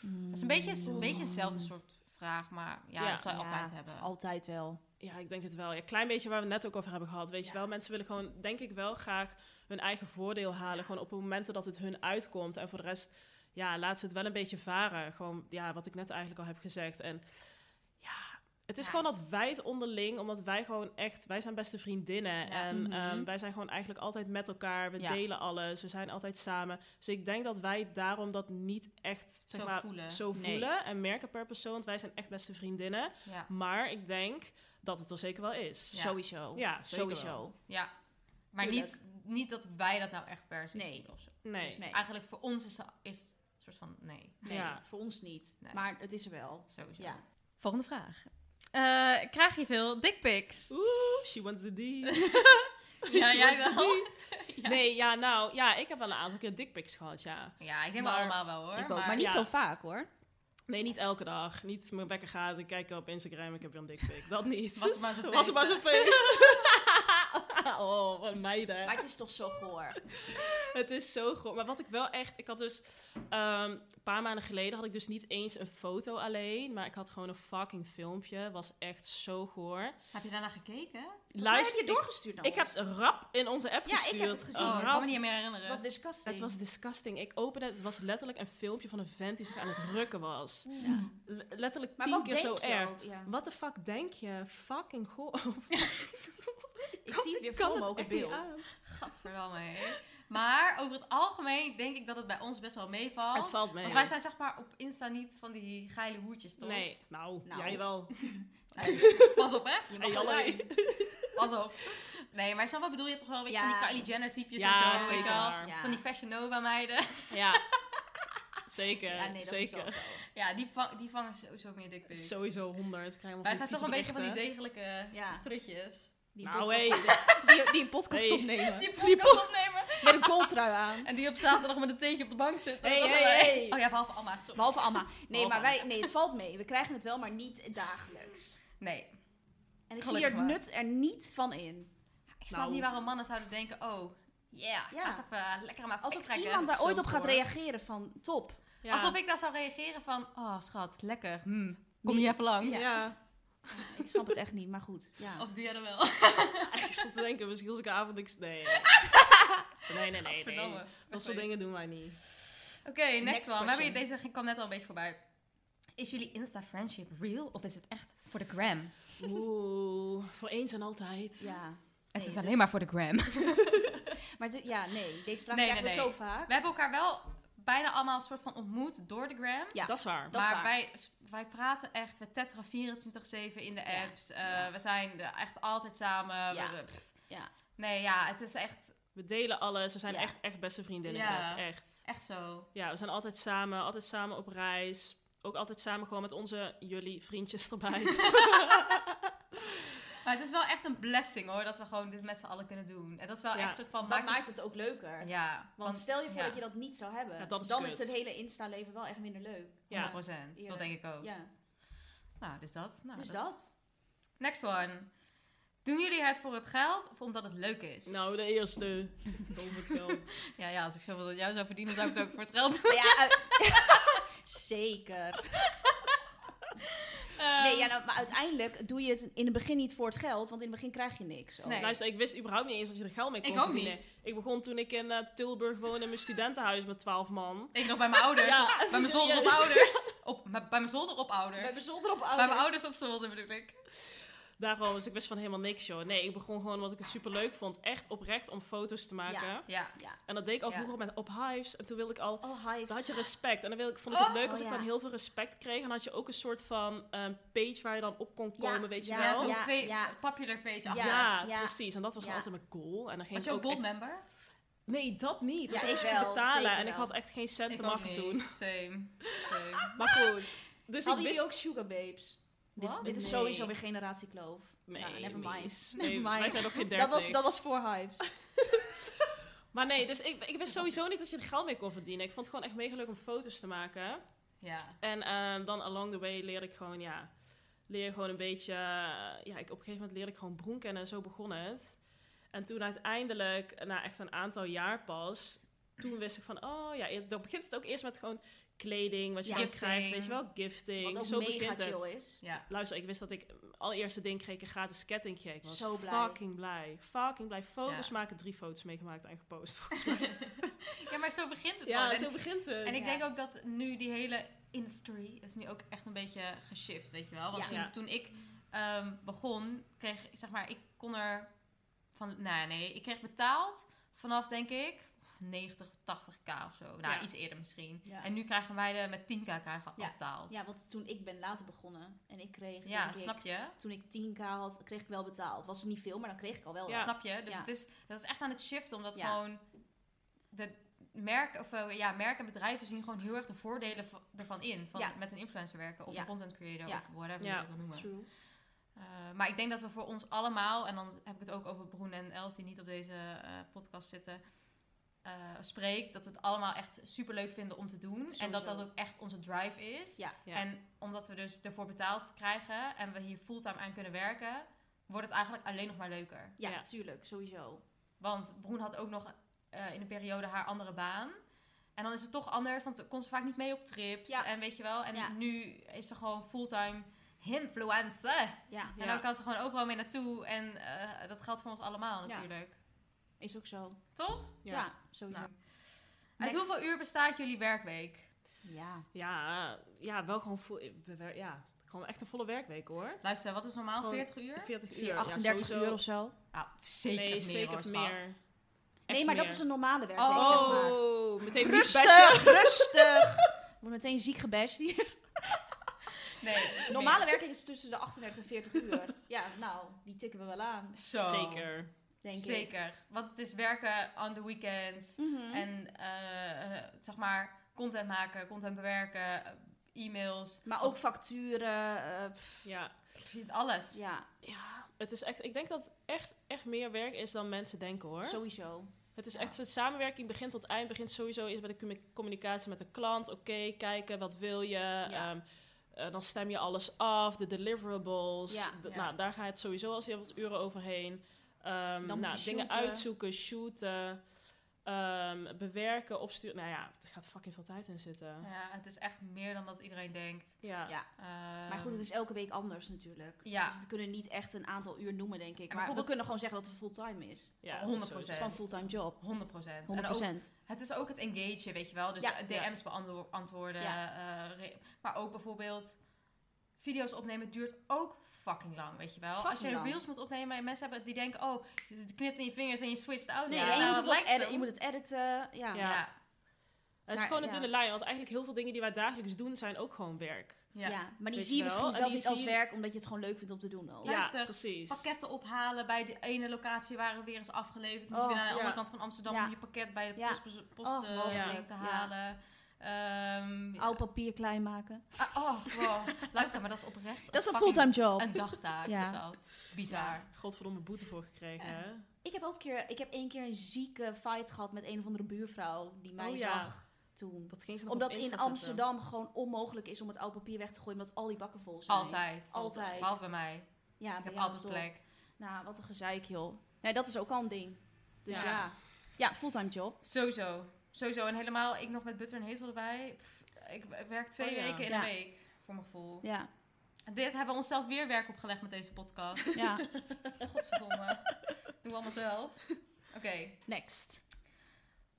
B: Dat is een beetje, een beetje hetzelfde soort vraag, maar ja,
D: Mm. Ja.
B: dat zal je
E: Ja,
B: altijd hebben.
E: Altijd wel.
D: Ja, ik denk het wel. Ja, klein beetje waar we het net ook over hebben gehad. Weet je wel, mensen willen gewoon, denk ik wel, graag hun eigen voordeel halen. Gewoon op de momenten dat het hun uitkomt. En voor de rest, ja, laat ze het wel een beetje varen. Gewoon, ja, wat ik net eigenlijk al heb gezegd. En ja, het is
B: Ja.
D: gewoon dat wij het onderling, omdat wij gewoon echt, wij zijn beste vriendinnen.
B: Ja.
D: En
E: Mhm.
D: ehm, wij zijn gewoon eigenlijk altijd met elkaar. We
B: Ja.
D: delen alles. We zijn altijd samen. Dus ik denk dat wij daarom dat niet echt, zeg
B: Zo
D: maar,
B: voelen.
D: zo
B: Nee.
D: voelen. En merken per persoon, want wij zijn echt beste vriendinnen.
B: Ja.
D: Maar ik denk dat het er zeker wel is.
B: Ja.
E: Sowieso.
D: Ja, zeker wel.
E: Sowieso.
B: Ja, maar niet, niet dat wij dat nou echt per se
E: Nee.
B: doen of zo.
D: Nee.
B: Dus
E: Nee.
B: eigenlijk voor ons is is het een soort van nee,
E: Nee,
D: Ja.
E: voor ons niet.
B: Nee.
E: Maar het is er wel.
B: sowieso.
E: Ja.
B: Volgende vraag. Eh, krijg je veel dickpics?
D: Oeh, she wants the D.
B: Ja,
D: She
B: jij
D: wants the
B: wel. Ja.
D: Nee, ja, nou, ja, ik heb wel een aantal keer dickpics gehad, ja.
B: Ja, ik denk wel
E: Maar-
B: allemaal wel hoor.
E: Ik ook. Maar, niet
D: ja.
E: zo vaak hoor.
D: Nee, niet elke dag. Niet mijn wekker gaat, ik kijk op Instagram, ik heb weer een dickpic. Dat niet.
B: Was het maar zo'n
D: Was het maar
B: feest,
D: zo'n feest. oh, wat meiden.
E: Maar het is toch zo goor.
D: Het is zo groot. Maar wat ik wel echt... Ik had dus... ehm, een paar maanden geleden had ik dus niet eens een foto alleen. Maar ik had gewoon een fucking filmpje. Was echt zo goor.
B: hè? Heb je daarna gekeken?
E: Luister, heb je
D: ik-
E: doorgestuurd naar
D: Ik heb
E: ons.
D: rap in onze app
E: Ja, ik heb
D: gestuurd.
E: het gezien.
B: Oh,
D: Rap.
B: ik kan me niet meer herinneren.
E: Het was disgusting.
D: Het was disgusting. Ik opende het. Het was letterlijk een filmpje van een vent die zich aan het rukken was. Le- letterlijk
E: maar
D: tien
E: wat
D: keer
E: denk
D: zo
E: je
D: erg.
E: ook? Ja.
D: Wat de fuck denk je? Fucking goh.
E: Ik zie het weer voor me ook op beeld.
B: Gadverdamme. hè. Maar over het algemeen denk ik dat het bij ons best wel meevalt.
D: Het valt mee.
B: Want wij zijn zeg maar op Insta niet van die geile hoertjes, toch?
D: Nee, nou,
E: Nou.
D: jij wel.
B: Pas op, hè? Je
D: En
B: alleen. Pas op. Nee, maar snap wat ik bedoel je toch wel een beetje
E: Ja.
B: van die Kylie Jenner typjes
D: Ja,
B: en zo, weet je
D: zeker.
B: wel?
D: Ja,
E: Ja.
B: Van die Fashion Nova meiden.
D: zeker.
E: Ja, nee, dat
D: zeker.
E: is wel zo.
B: Ja, die, vang- die vangen sowieso meer dikpics.
D: Sowieso 100. Krijgen we
B: Wij
D: van
B: zijn
D: die
B: toch een beetje
D: vieze
B: van die
D: berichten.
B: degelijke
E: Ja.
B: trutjes.
E: Die
D: Nou,
E: podcast, die, die een podcast
D: Hey.
E: opnemen.
B: Die podcast opnemen.
E: Met een kooltrui aan.
B: En die op zaterdag met een teentje op de bank zitten.
E: Hey,
B: Dat zijn
E: hey,
B: wij.
E: hey.
B: Oh ja, behalve Alma. sorry.
E: Behalve Alma. Nee,
D: Behalve
E: maar wij, nee, het valt mee. We krijgen het wel, maar niet dagelijks.
B: Nee.
E: En ik
B: Gelukkig
E: zie er
B: maar.
E: nut er niet van in.
B: Ik snap
D: Nou.
B: niet waarom mannen zouden denken, oh, Yeah,
E: Ja.
B: ga eens even lekker aan mijn
E: Alsof
B: pik trekken.
E: iemand daar
B: Zo
E: ooit op gaat
B: hoor.
E: reageren van top.
D: Ja.
B: Alsof ik daar zou reageren van, oh schat, lekker, hm, kom je even langs?
D: Ja.
E: Ik snap het echt niet, maar goed. Ja.
B: Of doe jij dat wel?
D: ik zat te denken, misschien als ik een avond niks... Nee, nee, nee, nee. nee,
B: Verdamme.
D: nee. Dat soort dingen doen wij niet.
B: Oké, next,
E: Next
B: one. We hebben,
E: question.
B: deze kwam net al een beetje voorbij. Is jullie Insta-friendship real of is het echt voor de gram?
D: Oeh, voor eens en altijd.
E: ja.
B: Het is
E: het
B: alleen
E: is-
B: maar voor de gram.
E: Maar de- ja, nee. Deze vraag
B: Nee,
E: krijgen
B: nee,
E: we
B: nee.
E: zo vaak.
B: We hebben elkaar wel bijna allemaal een soort van ontmoet door de gram.
E: Ja,
D: Dat is waar.
E: dat is
B: maar
E: waar.
B: Wij, wij praten echt, we tetteren 24-7 in de
E: Ja,
B: apps. Eh,
E: ja.
B: We zijn er echt altijd samen.
E: Ja,
B: We- we- pff.
E: ja.
B: Nee, ja, het is echt,
D: We delen alles. We zijn
E: Ja.
D: echt, echt beste vriendinnetjes.
B: Ja.
D: Echt.
B: echt zo.
D: Ja, we zijn altijd samen. Altijd samen op reis. Ook altijd samen gewoon met onze jullie vriendjes erbij.
B: Maar het is wel echt een blessing hoor, dat we gewoon dit met z'n allen kunnen doen. En dat is wel
D: Ja,
B: echt een soort van...
E: Dat maakt,
B: maakt het-
E: het ook leuker.
B: Ja,
E: Want, stel je voor
B: ja.
E: dat je dat niet zou hebben.
D: Ja, dat is
E: dan
D: kut.
E: is het hele Insta-leven wel echt minder leuk.
D: Ja.
B: 100%, dat
E: Eerlijk.
B: denk ik ook.
E: Ja,
B: Nou, dus dat. Nou,
E: dus
B: is-
E: dat.
B: Next one. Doen jullie het voor het geld of omdat het leuk is?
D: nou, de eerste. Boven het geld.
B: Ja, ja, als ik zoveel aan jou zou verdienen, zou ik het ook voor het geld doen.
E: Ja, uit- zeker. Nee,
B: Ehm.
E: ja, nou, maar uiteindelijk doe je het in het begin niet voor het geld, want in het begin krijg je niks. Oh.
B: Nee.
D: Luister, ik wist überhaupt niet eens dat je er geld mee kon
B: Ik ook
D: verdienen.
B: niet.
D: Ik begon toen ik in eh, Tilburg woonde in mijn studentenhuis met 12 man.
B: Ik nog bij mijn ouders.
D: Ja,
B: op- bij mijn zolder op
D: serieus.
B: ouders. Op, bij bij mijn zolder op ouders.
E: We hebben zonder Oh. op ouders.
B: Bij mijn ouders op zolder bedoel ik.
D: Daarom, dus ik wist van helemaal niks, joh. Nee, ik begon gewoon wat ik het superleuk vond. Echt oprecht om foto's te maken.
B: Ja.
D: En dat deed ik al
B: Ja.
D: vroeger met op Hives. En toen wilde ik al...
E: Oh, hives.
D: Dan had je respect. En dan wil ik, vond ik het
B: Oh.
D: leuk als
E: Oh,
D: ik
E: ja.
D: dan heel veel respect kreeg. En dan had je ook een soort van ehm, page waar je dan op kon
E: Ja,
D: komen, weet je
E: ja,
B: Ja,
D: wel.
B: zo'n
E: ja,
B: ve-
E: ja.
B: popular page. achter.
D: Ja,
E: Ja, ja.
D: precies. En dat was
E: Ja.
D: altijd mijn goal. En dan ging
B: Was
D: ik
B: je ook
D: ook
B: gold
D: echt-
B: member?
D: Nee, dat niet. Want
E: Ja,
D: ik
E: ik
D: moest
E: wel,
D: betalen.
E: zeker
D: En ik
E: wel.
D: had echt geen cent om
B: ook
D: af te
B: niet.
D: doen.
B: Same. Same.
D: Maar goed.
E: Hadden
D: Dus ik wist...
E: jullie ook sugar babes? Dit, is-
B: Wat?
E: dit is
D: Nee.
E: sowieso weer generatiekloof.
D: Nee,
E: Ja, never
D: nee.
E: mind.
D: Nee,
E: Never
D: Wij
E: mind.
D: zijn nog geen dertig.
E: Dat was, dat was voor hypes.
D: Maar nee, dus ik, ik wist sowieso niet dat je er geld mee kon verdienen. Ik vond het gewoon echt mega leuk om foto's te maken.
B: Ja.
D: En ehm, dan along the way leerde ik gewoon, ja, leer je gewoon een beetje, eh, ja, ik, op een gegeven moment leerde ik gewoon Broen kennen en zo begon het. En toen uiteindelijk, na echt een aantal jaar pas, toen wist ik van, oh ja, dan begint het ook eerst met gewoon kleding, wat je
E: Ja.
D: dan
B: Gifting.
D: krijgt, weet je wel, gifting.
E: Wat ook
D: zo
E: mega
D: begint het.
E: chill is.
B: Ja.
D: Luister, ik wist dat ik mm, allereerste ding kreeg ik een gratis kettingje. Ik was
E: Zo blij.
D: fucking blij. Fucking blij. Foto's
B: Ja.
D: maken, drie foto's meegemaakt en gepost volgens mij.
B: ja, maar zo begint het
D: ja,
B: wel. En-
D: zo begint het.
B: En ik
E: Ja.
B: denk ook dat nu die hele industry is nu ook echt een beetje geshift, weet je wel. Want
E: Ja.
B: toen,
D: Ja.
B: toen ik ehm, begon, kreeg zeg maar, ik kon er van, nou nee, ik kreeg betaald vanaf denk ik 90, 80k of zo. Nou,
D: Ja.
B: iets eerder misschien.
E: Ja.
B: En nu krijgen wij de met 10k krijgen
E: Ja.
B: betaald.
E: Ja, want toen ik ben later begonnen en ik kreeg,
B: Ja,
E: denk ik,
B: snap je?
E: toen ik 10k had, kreeg ik wel betaald. Was het niet veel, maar dan kreeg ik al wel.
D: Ja.
E: wat.
B: Snap je? Dus
E: Ja.
B: het is, dat is echt aan het shiften, omdat
E: Ja.
B: gewoon de merk, of, eh, ja, merken en bedrijven zien gewoon heel erg de voordelen van- ervan in. Van
E: Ja.
B: met een influencer werken of
E: Ja.
B: een content creator
E: Ja.
B: of whatever
D: Ja.
B: je het ook wil noemen.
E: True.
B: Eh, maar ik denk dat we voor ons allemaal, en dan heb ik het ook over Broen en Els die niet op deze eh, podcast zitten, eh, spreek, dat we het allemaal echt super leuk vinden om te doen. En dat
E: Sowieso.
B: dat ook echt onze drive is.
E: Ja.
D: Ja.
B: En omdat we dus ervoor betaald krijgen en we hier fulltime aan kunnen werken, wordt het eigenlijk alleen nog maar leuker.
E: Ja,
D: Ja.
E: tuurlijk, sowieso.
B: Want Broen had ook nog eh, in een periode haar andere baan. En dan is het toch anders, want kon ze vaak niet mee op trips.
E: Ja.
B: En weet je wel, en
E: Ja.
B: nu is ze gewoon fulltime influencer.
E: Ja,
B: En
D: Ja.
B: dan kan ze gewoon overal mee naartoe. En eh, dat geldt voor ons allemaal natuurlijk.
E: is ook zo.
B: Toch?
E: Ja,
D: Ja.
E: sowieso.
B: Nou. Uit
E: Next.
B: hoeveel uur bestaat jullie werkweek?
E: Ja.
D: Ja, ja wel gewoon, vo- we wer- ja, gewoon echt een volle werkweek hoor.
B: Luister, wat is normaal?
D: Gewoon
B: 40 uur?
D: 40 uur.
E: 38
D: ja,
E: uur
D: sowieso.
E: of zo.
B: Ah, zeker
D: nee,
B: meer
D: zeker
B: hoor,
D: meer.
B: schat.
E: nee,
D: Echt
E: maar dat
D: meer.
E: is een normale werkweek,
B: Oh.
E: zeg maar.
D: Oh, meteen rustig.
E: Rustig, rustig. Ik word meteen ziek gebashed hier.
B: Nee,
E: Normale werkweek is dus tussen de 38 en 40 uur. Ja, nou, die tikken we wel aan,
B: meer. Zo.
D: Zeker.
E: denk ik.
B: Zeker. Want het is werken on the weekends.
E: Mhm.
B: En eh, eh, zeg maar content maken, content bewerken, eh, e-mails.
E: Maar ook facturen. eh, pff,
D: Ja.
B: Alles.
E: ja,
D: ja, het is echt, ik denk dat het echt, echt meer werk is dan mensen denken hoor.
E: sowieso.
D: Het is echt, de samenwerking begint tot eind, begint sowieso eerst bij de commu- communicatie met de klant. Oké, kijken, wat wil je? Ehm, eh, dan stem je alles af, de deliverables.
E: Ja.
D: De-
B: Ja.
D: Nou, daar gaat het sowieso al heel wat uren overheen. Ehm,
E: Dan moet
D: nou,
E: je
D: dingen
E: shooten.
D: uitzoeken, shooten. ehm, bewerken, opsturen. Nou ja, er gaat fucking veel tijd in zitten.
B: Ja, het is echt meer dan dat iedereen denkt. Ehm,
D: Ja.
E: Ja. Maar goed, het is elke week anders natuurlijk.
B: ja.
E: Dus we kunnen niet echt een aantal uur noemen, denk ik.
B: En
E: Maar we
B: bijvoorbeeld-
E: kunnen gewoon zeggen dat het fulltime is.
D: ja, het is
B: 100
E: Het is
D: sowieso.
E: gewoon een fulltime job.
B: 100 procent.
E: 100
B: het is ook het engage, weet je wel. Dus
E: Ja,
B: eh, DM's beantwoorden. eh, re- maar ook bijvoorbeeld video's opnemen duurt ook fucking lang, weet je wel.
E: Fucking
B: Als je
E: lang.
B: reels moet opnemen en mensen hebben die denken, oh, je knipt in je vingers en je switcht out.
E: Nee,
B: Ja,
E: en je,
B: nou, dat
E: moet het ook
B: lijkt
E: editen,
B: zo.
E: je moet het editen. Ja.
D: Ja.
B: Ja.
D: Het is
E: Maar,
D: gewoon een
E: ja.
D: dunne lijn, want eigenlijk heel veel dingen die wij dagelijks doen zijn ook gewoon werk.
B: Ja.
E: Ja, maar die
D: Weet
E: zie je
D: je wel,
E: misschien
D: en
E: zelf
D: die
E: niet als
D: zie-
E: werk, omdat je het gewoon leuk vindt om te doen al.
B: Luister,
D: ja, precies.
B: Pakketten ophalen bij de ene locatie waren we weer eens afgeleverd. Moest
E: Oh,
B: je weer naar de
D: ja.
B: andere kant van Amsterdam
E: Ja.
B: om je pakket bij de
E: Ja.
B: post, post
E: Oh,
B: eh,
E: mogelijk.
B: ding te
E: Ja.
B: halen. Ehm,
E: Oud papier klein maken.
B: Ah, oh, wow. Luister, maar dat is oprecht.
E: Dat is een
B: fucking-
E: fulltime job.
B: Een dagtaak
E: Ja.
B: is dat. Bizar.
D: Godverdomme boete voor gekregen.
E: Ja.
D: hè?
E: Ik heb ook een keer, ik heb één keer een zieke fight gehad met een of andere buurvrouw die mij
D: Oh ja.
E: zag toen.
D: Dat ging ze nog
E: Omdat
D: op
E: in
D: Insta zetten.
E: Amsterdam gewoon onmogelijk is om het oud papier weg te gooien, omdat al die bakken vol zijn.
B: Altijd.
E: Altijd.
B: Behalve bij mij.
E: Ja,
B: ik
E: bij
B: heb
E: jou
B: altijd
E: is het
B: plek.
E: op. Nou, wat een gezeik joh. Nee, dat is ook al een ding. Dus ja.
D: Ja.
E: Ja, fulltime job.
B: Sowieso. Sowieso. En helemaal, ik nog met butter en hezel erbij. Pff, ik werk twee
D: Oh, ja.
B: weken in
E: Ja.
B: een week. Voor mijn gevoel.
E: Ja.
B: Dit hebben we onszelf weer werk opgelegd met deze podcast.
E: Ja.
B: Godverdomme. Doen we allemaal zelf. Oké.
E: Next.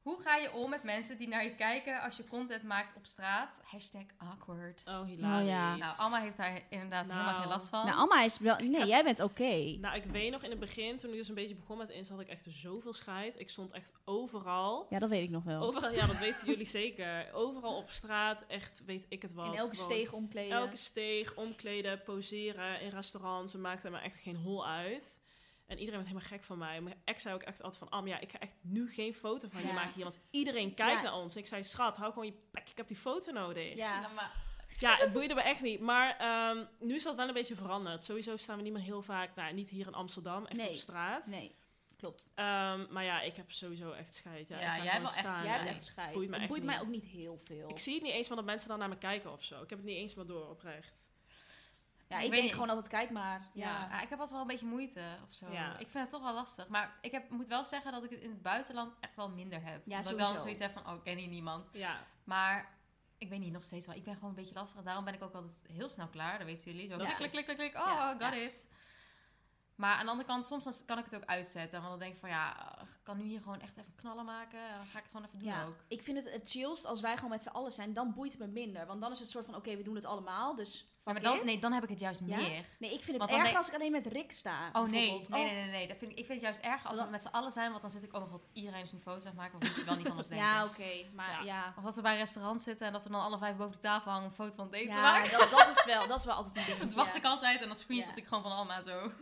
B: Hoe ga je om met mensen die naar je kijken als je content maakt op straat? Hashtag awkward.
D: Oh, hilarisch.
E: Oh ja.
B: Nou, Alma heeft daar inderdaad
D: Nou.
B: helemaal geen last van.
E: Nou, Alma is wel... Nee,
D: ga-
E: jij bent oké.
D: Nou, ik weet nog in het begin, toen ik dus een beetje begon met Insta, had ik echt zoveel scheid. Ik stond echt overal.
E: Ja, dat weet ik nog wel.
D: Overal, ja, dat weten jullie zeker. Overal op straat, echt weet ik het wat.
E: In elke
D: Gewoon
E: steeg omkleden.
D: Elke steeg, omkleden, poseren in restaurants. Het maakte me echt geen hol uit. En iedereen werd helemaal gek van mij. Mijn ex zei ook echt altijd van... Am, ja, ik ga echt nu geen foto van je
E: Ja.
D: maken hier. Want iedereen
E: Ja.
D: kijkt naar ons. En ik zei, schat, hou gewoon je pek. Ik heb die foto nodig.
E: Ja.
B: Nou, maar
D: Ja, het boeide me echt niet. Maar ehm, nu is dat wel een beetje veranderd. Sowieso staan we niet meer heel vaak... Nou, niet hier in Amsterdam. Echt
E: Nee.
D: op straat.
E: Nee, klopt.
D: Ehm, maar ja, ik heb sowieso echt scheid. Ja,
B: Ja,
D: ik ga
B: jij
D: gewoon
B: wel echt-
D: staan.
E: jij hebt
D: En
E: echt scheid.
D: Ah, boeit me
E: het
D: echt
E: boeit
D: niet.
E: mij ook niet heel veel.
D: Ik zie het niet eens maar dat mensen dan naar me kijken of zo. Ik heb het niet eens maar door, oprecht.
E: ja,
B: Ik
E: ik
B: weet
E: denk
B: niet.
E: gewoon altijd kijk maar. Ja.
D: Ja.
B: Ja, ik heb altijd wel een beetje moeite of zo.
D: Ja.
B: Ik vind het toch wel lastig. Maar ik heb, moet wel zeggen dat ik het in het buitenland echt wel minder heb.
E: Ja,
B: dat ik
E: sowieso.
B: dan zoiets heb van, oh, ik ken hier niemand.
D: Ja,
B: Maar ik weet niet, nog steeds wel. Ik ben gewoon een beetje lastig. En daarom ben ik ook altijd heel snel klaar. Dat weten jullie. Zo
D: Ja.
B: klik, klik, klik, klik. Oh,
E: Ja,
B: got
E: ja.
B: it. Maar aan de andere kant, soms dan kan ik het ook uitzetten. Want dan denk ik van, ja, ik kan nu hier gewoon echt even knallen maken. En dan ga ik het gewoon even doen
E: Ja,
B: ook.
E: ik vind het het chillst als wij gewoon met z'n allen zijn. Dan boeit het me minder. Want dan is het soort van, oké, we doen het allemaal. Dus
B: Ja,
E: fuck
B: maar dan,
E: it.
B: nee, dan heb ik het juist
E: Ja?
B: meer.
E: Nee, ik vind het
B: Want dan
E: erger
B: denk-
E: als ik alleen met Rick sta.
B: Oh nee, nee,
E: bijvoorbeeld.
B: nee,
E: Oh,
B: nee, nee. Dat vind ik, ik vind het juist erg als we
E: Dan-
B: met z'n allen zijn. Want dan zit ik, oh mijn god, iedereen is niveau zeg maken. Want moeten wel niet van ons denken.
E: Ja, oké. maar ja.
B: Of dat we bij een restaurant zitten en dat we dan alle vijf boven de tafel hangen om een foto van het
E: Ja,
B: eten te maken.
E: dat, dat, is wel, dat is wel altijd een ding.
B: Dat wacht
E: ja.
B: ik altijd en dan screenshot
E: Ja.
B: ik gewoon van Alma zo.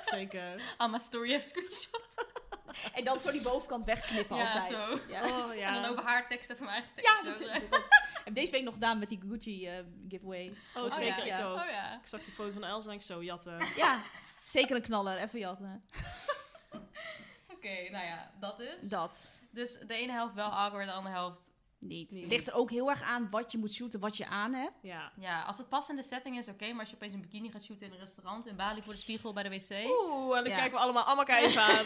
D: zeker.
B: Alma story heeft screenshot.
E: En dan zo die bovenkant wegknippen
B: Ja,
E: altijd.
B: zo.
E: Ja.
D: Oh, ja.
B: En dan over haar tekst en van mijn eigen tekst.
E: Ja,
B: zo.
E: dat ik heb deze week nog gedaan met die Gucci eh, giveaway.
D: Oh,
E: ja.
D: zeker,
E: Ja.
D: ik ook.
B: Oh ja.
D: Ik zag die foto van Els en ik zo, jatten.
E: Ja, zeker een knaller. Even jatten.
B: Oké, nou ja, dat is.
E: Dat.
B: Dus de ene helft wel awkward, de andere helft...
E: Niet.
D: Niet.
E: Het ligt er ook heel erg aan wat je moet shooten, wat je aan hebt.
D: Ja.
B: Ja, als het past in de setting is oké, maar als je opeens een bikini gaat shooten in een restaurant, in Bali voor de spiegel bij de wc...
D: Oeh, en dan
B: Ja.
D: kijken we allemaal allemaal even aan.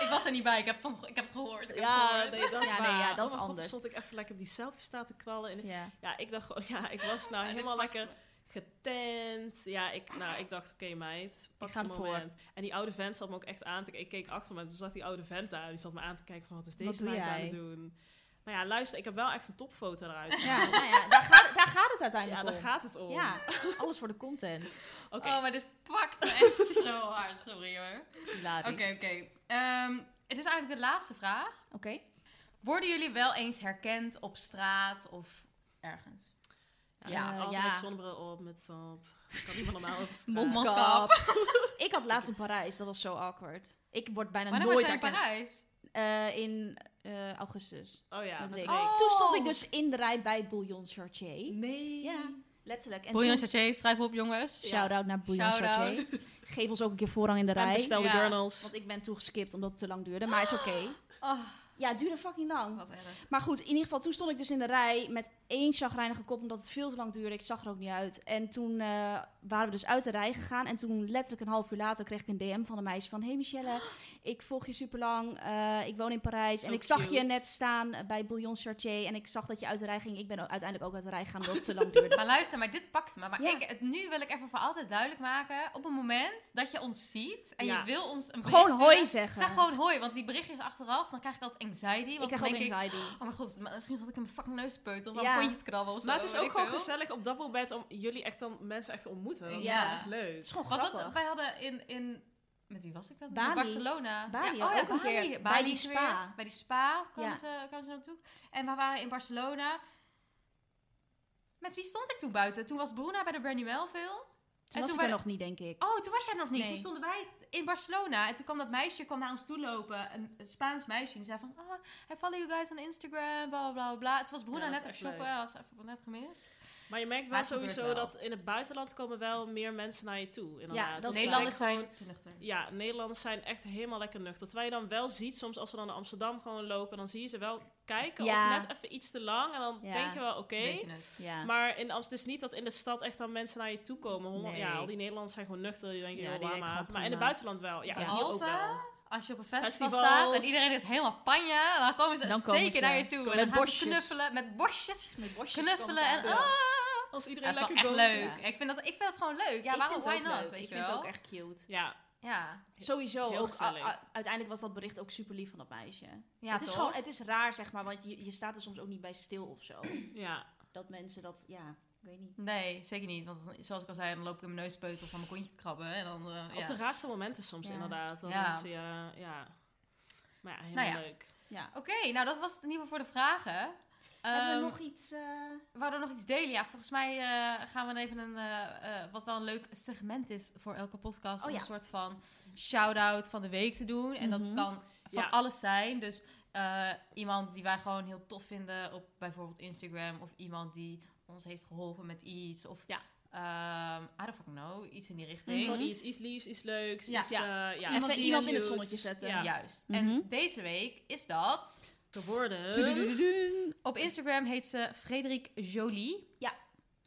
B: Ik was er niet bij, ik heb, van, ik heb het gehoord. Ik heb het
D: Ja,
B: gehoord.
D: eh, nee, dat is
E: Ja, nee,
D: waar.
E: ja, dat
D: Oh
E: is
D: mijn god,
E: anders.
D: toen stond ik even lekker op die selfie staan te knallen. En
E: Ja.
D: ja, ik dacht gewoon, ja, ik was nou
B: En dit
D: helemaal
B: pakt
D: lekker
B: me.
D: getent. Ja, ik, nou, ik dacht, oké meid, pak
E: ga
D: het
E: ervoor.
D: moment. En die oude vent zat me ook echt aan te kijken. Ik keek achter me en toen zat die oude vent daar. Die zat me aan te kijken van, wat is
E: Wat
D: deze
E: doe
D: meid aan
E: jij?
D: het doen? Maar ja, luister, ik heb wel echt een topfoto eruit.
E: Ja, nou ja, daar, gaat, daar gaat het
D: Ja,
E: uiteindelijk
D: daar
E: om.
D: gaat het om.
E: Ja, alles voor de content.
D: Oké,
B: Oh, maar dit pakt me echt zo hard. Sorry hoor. Oké,
E: Hilarisch.
B: oké. Ehm, het is eigenlijk de laatste vraag.
E: Oké.
B: Worden jullie wel eens herkend op straat of ergens?
D: ja,
E: Ja,
D: altijd
E: Eh, ja.
D: met zonnebril op, met zand. Ik kan niet van normaal op de straat.
E: Mondkap. ik had laatst in Parijs, dat was zo awkward. Ik word bijna
B: Wanneer was
E: nooit
B: jij in
E: herkend.
B: Parijs?
E: Eh, in eh, augustus.
D: Oh ja,
E: Met
D: met
E: Rick.
D: Rick.
B: Oh.
E: Toen stond ik dus in de rij bij Bouillon Chartier.
D: Nee.
E: Ja, letterlijk. En
B: Bouillon
E: toen-
B: Chartier, schrijf op jongens.
E: Shout-out naar Bouillon
B: Shout-out.
E: Chartier. Geef ons ook een keer voorrang in de
D: En
E: rij.
D: bestel de
B: Ja.
D: journals.
E: Want ik ben toegeskipt omdat het te lang duurde, maar is oké.
B: Oh,
E: Ja, het duurde fucking lang.
B: Wat erg.
E: Maar goed, in ieder geval, toen stond ik dus in de rij met één chagrijnige kop, omdat het veel te lang duurde. Ik zag er ook niet uit. En toen eh, waren we dus uit de rij gegaan. En toen, letterlijk een half uur later, kreeg ik een DM van een meisje van... Hey Michelle, ik volg je superlang. lang. ik woon in Parijs.
D: Zo
E: en ik zag je
D: cute.
E: net staan eh, bij Bouillon Chartier. En ik zag dat je uit de rij ging. Ik ben o- uiteindelijk ook uit de rij gegaan, omdat het te lang duurde.
B: Maar luister, maar dit pakt me. Maar
E: Ja.
B: ik, het- nu wil ik even voor altijd duidelijk maken. Op het moment dat je ons ziet en
D: Ja.
B: je wil ons een bericht
E: Gewoon
B: sturen,
E: hoi zeggen.
B: Zeg gewoon hoi, want die berichtjes achteraf, dan krijg ik altijd anxiety.
E: ik
B: Want
E: krijg
B: dan
E: ook
B: denk ik,
E: anxiety.
B: oh mijn god, maar misschien zat ik in mijn fucking neus te peutelen of
E: Ja.
B: aan mijn pontje te krabben of zo.
D: Maar het is
B: weet
D: ook
B: ik
D: gewoon
B: veel.
D: gezellig op dappelbed om jullie echt dan mensen echt te ontmoeten. Dat
B: Ja.
D: is echt leuk.
E: Het is gewoon
B: Want
E: grappig.
B: dat, wij hadden in, in... Met wie was ik dat?
E: Bali.
B: In Barcelona.
E: Bali,
B: ja, oh ja,
E: ook een
B: Bali.
E: keer.
B: Bali
E: Bij die
B: is weer-
E: spa.
B: bij die spa kwamen,
E: Ja.
B: ze, kwamen ze naartoe. En we waren in Barcelona. Met wie stond ik toen buiten? Toen was Bruna bij de Brandy Melville. en
E: Toen was
B: toen
E: ik er
B: waren-
E: nog niet, denk ik.
B: Oh, toen was jij nog niet.
E: Nee.
B: Toen stonden wij in Barcelona. En toen kwam dat meisje kwam naar ons toe lopen. Een een Spaans meisje. Die zei van... Oh, I follow you guys on Instagram. Bla, bla, bla, bla. Het was Bruna
D: Ja, dat
B: net
D: is
B: even
D: echt
B: shoppen.
D: leuk.
B: Hij was even net gemist.
D: Maar je merkt
B: Maar
D: wel
B: het gebeurt
D: sowieso
B: wel.
D: dat in het buitenland komen wel meer mensen naar je toe. Inderdaad.
E: dat is
D: Dus ik
B: Nederlanders
D: denk gewoon-
B: zijn te nuchter.
D: Ja, Nederlanders zijn echt helemaal lekker nuchter. Dat wij dan wel ziet, soms als we dan naar Amsterdam gewoon lopen, dan zie je ze wel kijken
E: Ja.
D: of net even iets te lang. En dan
E: Ja.
D: denk je wel, oké.
B: Weet je het.
E: Ja.
D: Maar in Amst- het is niet dat in de stad echt dan mensen naar je toe komen. Honderd-
E: Nee.
D: Ja, al die Nederlanders zijn gewoon nuchter. Die denken,
E: Ja,
D: ja,
E: die denken
D: maar.
E: gewoon
D: maar in het
E: prima.
D: buitenland wel.
E: Ja.
D: Ja, hier ook
B: Behalve
D: wel.
B: Als je op een festival
D: Festivals.
B: staat en iedereen is helemaal panja, dan komen ze
E: Dan komen
B: zeker
E: ze.
B: naar je toe.
E: Met
B: en dan gaan ze
E: borstjes.
B: knuffelen met borstjes.
E: Met bosjes
B: Knuffelen en ah,
D: Als iedereen
B: dat is wel
D: lekker
B: echt
D: goes
B: leuk.
D: is.
B: Ik, vind dat, ik vind dat gewoon leuk. Ja, waarom why not? Weet
E: ik
B: je
E: vind het
B: wel?
E: ook echt cute.
D: Ja,
B: Ja,
E: Sowieso,
D: Heel
E: ook, a-
D: gezellig.
E: a- uiteindelijk was dat bericht ook super lief van dat meisje.
B: ja
E: het, is
B: toch?
E: gewoon, het is raar, zeg maar, want je, je staat er soms ook niet bij stil of zo.
D: ja.
E: dat mensen dat, ja, ik weet niet.
B: Nee, zeker niet. Want dan- zoals ik al zei, dan loop ik in mijn neus peutel van mijn kontje te krabben. En dan, eh,
D: Op
B: ja.
D: de raarste momenten soms
E: Ja.
D: inderdaad. Dan
B: Ja.
D: mensen, ja, ja. Maar ja, helemaal
B: Nou ja.
D: leuk.
E: Ja.
B: Oké, nou dat was het in ieder geval voor de vragen.
E: Hebben
B: Ehm,
E: we nog iets? eh,
B: We hadden nog iets delen. Ja, volgens mij eh, gaan we even een... eh, eh, wat wel een leuk segment is voor elke podcast...
E: Oh
B: om
E: ja.
B: een soort van shout-out van de week te doen. En
E: Mhm.
B: dat kan van
D: Ja.
B: alles zijn. Dus eh, iemand die wij gewoon heel tof vinden op bijvoorbeeld Instagram... of iemand die ons heeft geholpen met iets. Of,
E: Ja.
B: ehm, I don't fucking know, iets in die richting.
D: Gewoon iets, iets liefs, iets leuks.
B: Ja.
D: Iets, eh, ja.
E: Mhm. Even
D: iets
E: iemand in het
D: cutes.
E: zonnetje zetten.
D: Ja.
B: Juist.
E: Mhm.
B: En deze week is dat...
D: Geworden.
B: Op Instagram heet ze Frederik Jolie.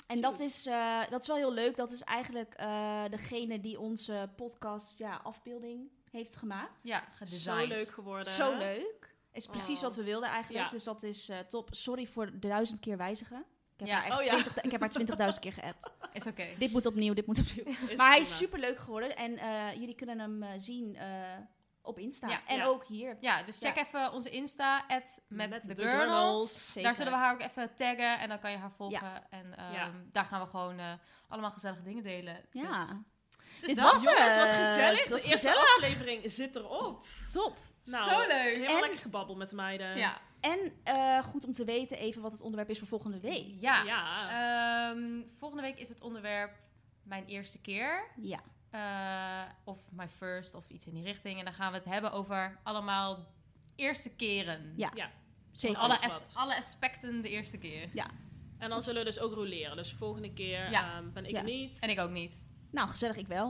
E: En dat is, eh, dat is wel heel leuk. Dat is eigenlijk eh, degene die onze podcast, ja, afbeelding heeft gemaakt.
B: Ja,
D: Zo
B: gedesigned.
D: leuk geworden.
E: Zo leuk. Is precies
D: Oh.
E: wat we wilden eigenlijk.
D: Ja.
E: Dus dat is eh, top. Sorry voor de duizend keer wijzigen. Ik heb
B: Ja.
E: haar echt
D: Oh ja.
E: 20 ik heb haar 20.000 keer geappt.
B: Is oké.
E: Dit moet opnieuw, dit moet opnieuw.
D: Is
E: maar hij
D: prima.
E: is super leuk geworden. En eh, jullie kunnen hem eh, zien eh, op Insta.
B: Ja.
E: en
D: Ja.
E: ook hier.
B: Ja, dus check
E: Ja.
B: even onze Insta, at met, de, girls.
E: Zeker.
B: Daar zullen we haar ook even taggen en dan kan je haar volgen. En ehm,
D: Ja.
B: daar gaan we gewoon eh, allemaal gezellige dingen delen.
E: Ja.
B: Dus, dus
E: Dit
B: dat.
E: was
D: Jongens, wat
E: het.
D: gezellig.
E: Het was
D: de eerste
E: gezellig.
D: aflevering zit erop.
E: Top.
D: Nou,
B: Zo leuk.
D: Helemaal
E: En-
D: lekker gebabbel met de meiden.
B: Ja.
E: En eh, goed om te weten even wat het onderwerp is voor volgende week.
B: ja.
D: Ja.
B: Ehm, volgende week is het onderwerp mijn eerste keer.
E: Ja.
B: eh, of my first of iets in die richting. En dan gaan we het hebben over allemaal eerste keren.
E: Ja,
B: In
E: Zeker.
B: alle,
D: is
B: as-
D: wat.
B: alle aspecten de eerste keer.
D: En dan zullen we dus ook roleren. Dus volgende keer
B: Ja.
D: ehm, ben ik
E: Ja.
D: er niet.
B: En ik ook niet.
E: Nou, gezellig ik wel.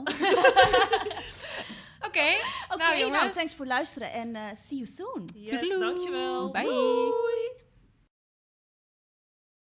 E: Oké,
B: Oké,
E: nou,
B: jongens.
E: thanks voor luisteren en eh, see you soon.
D: Yes, dankjewel.
B: Bye.
D: Doei.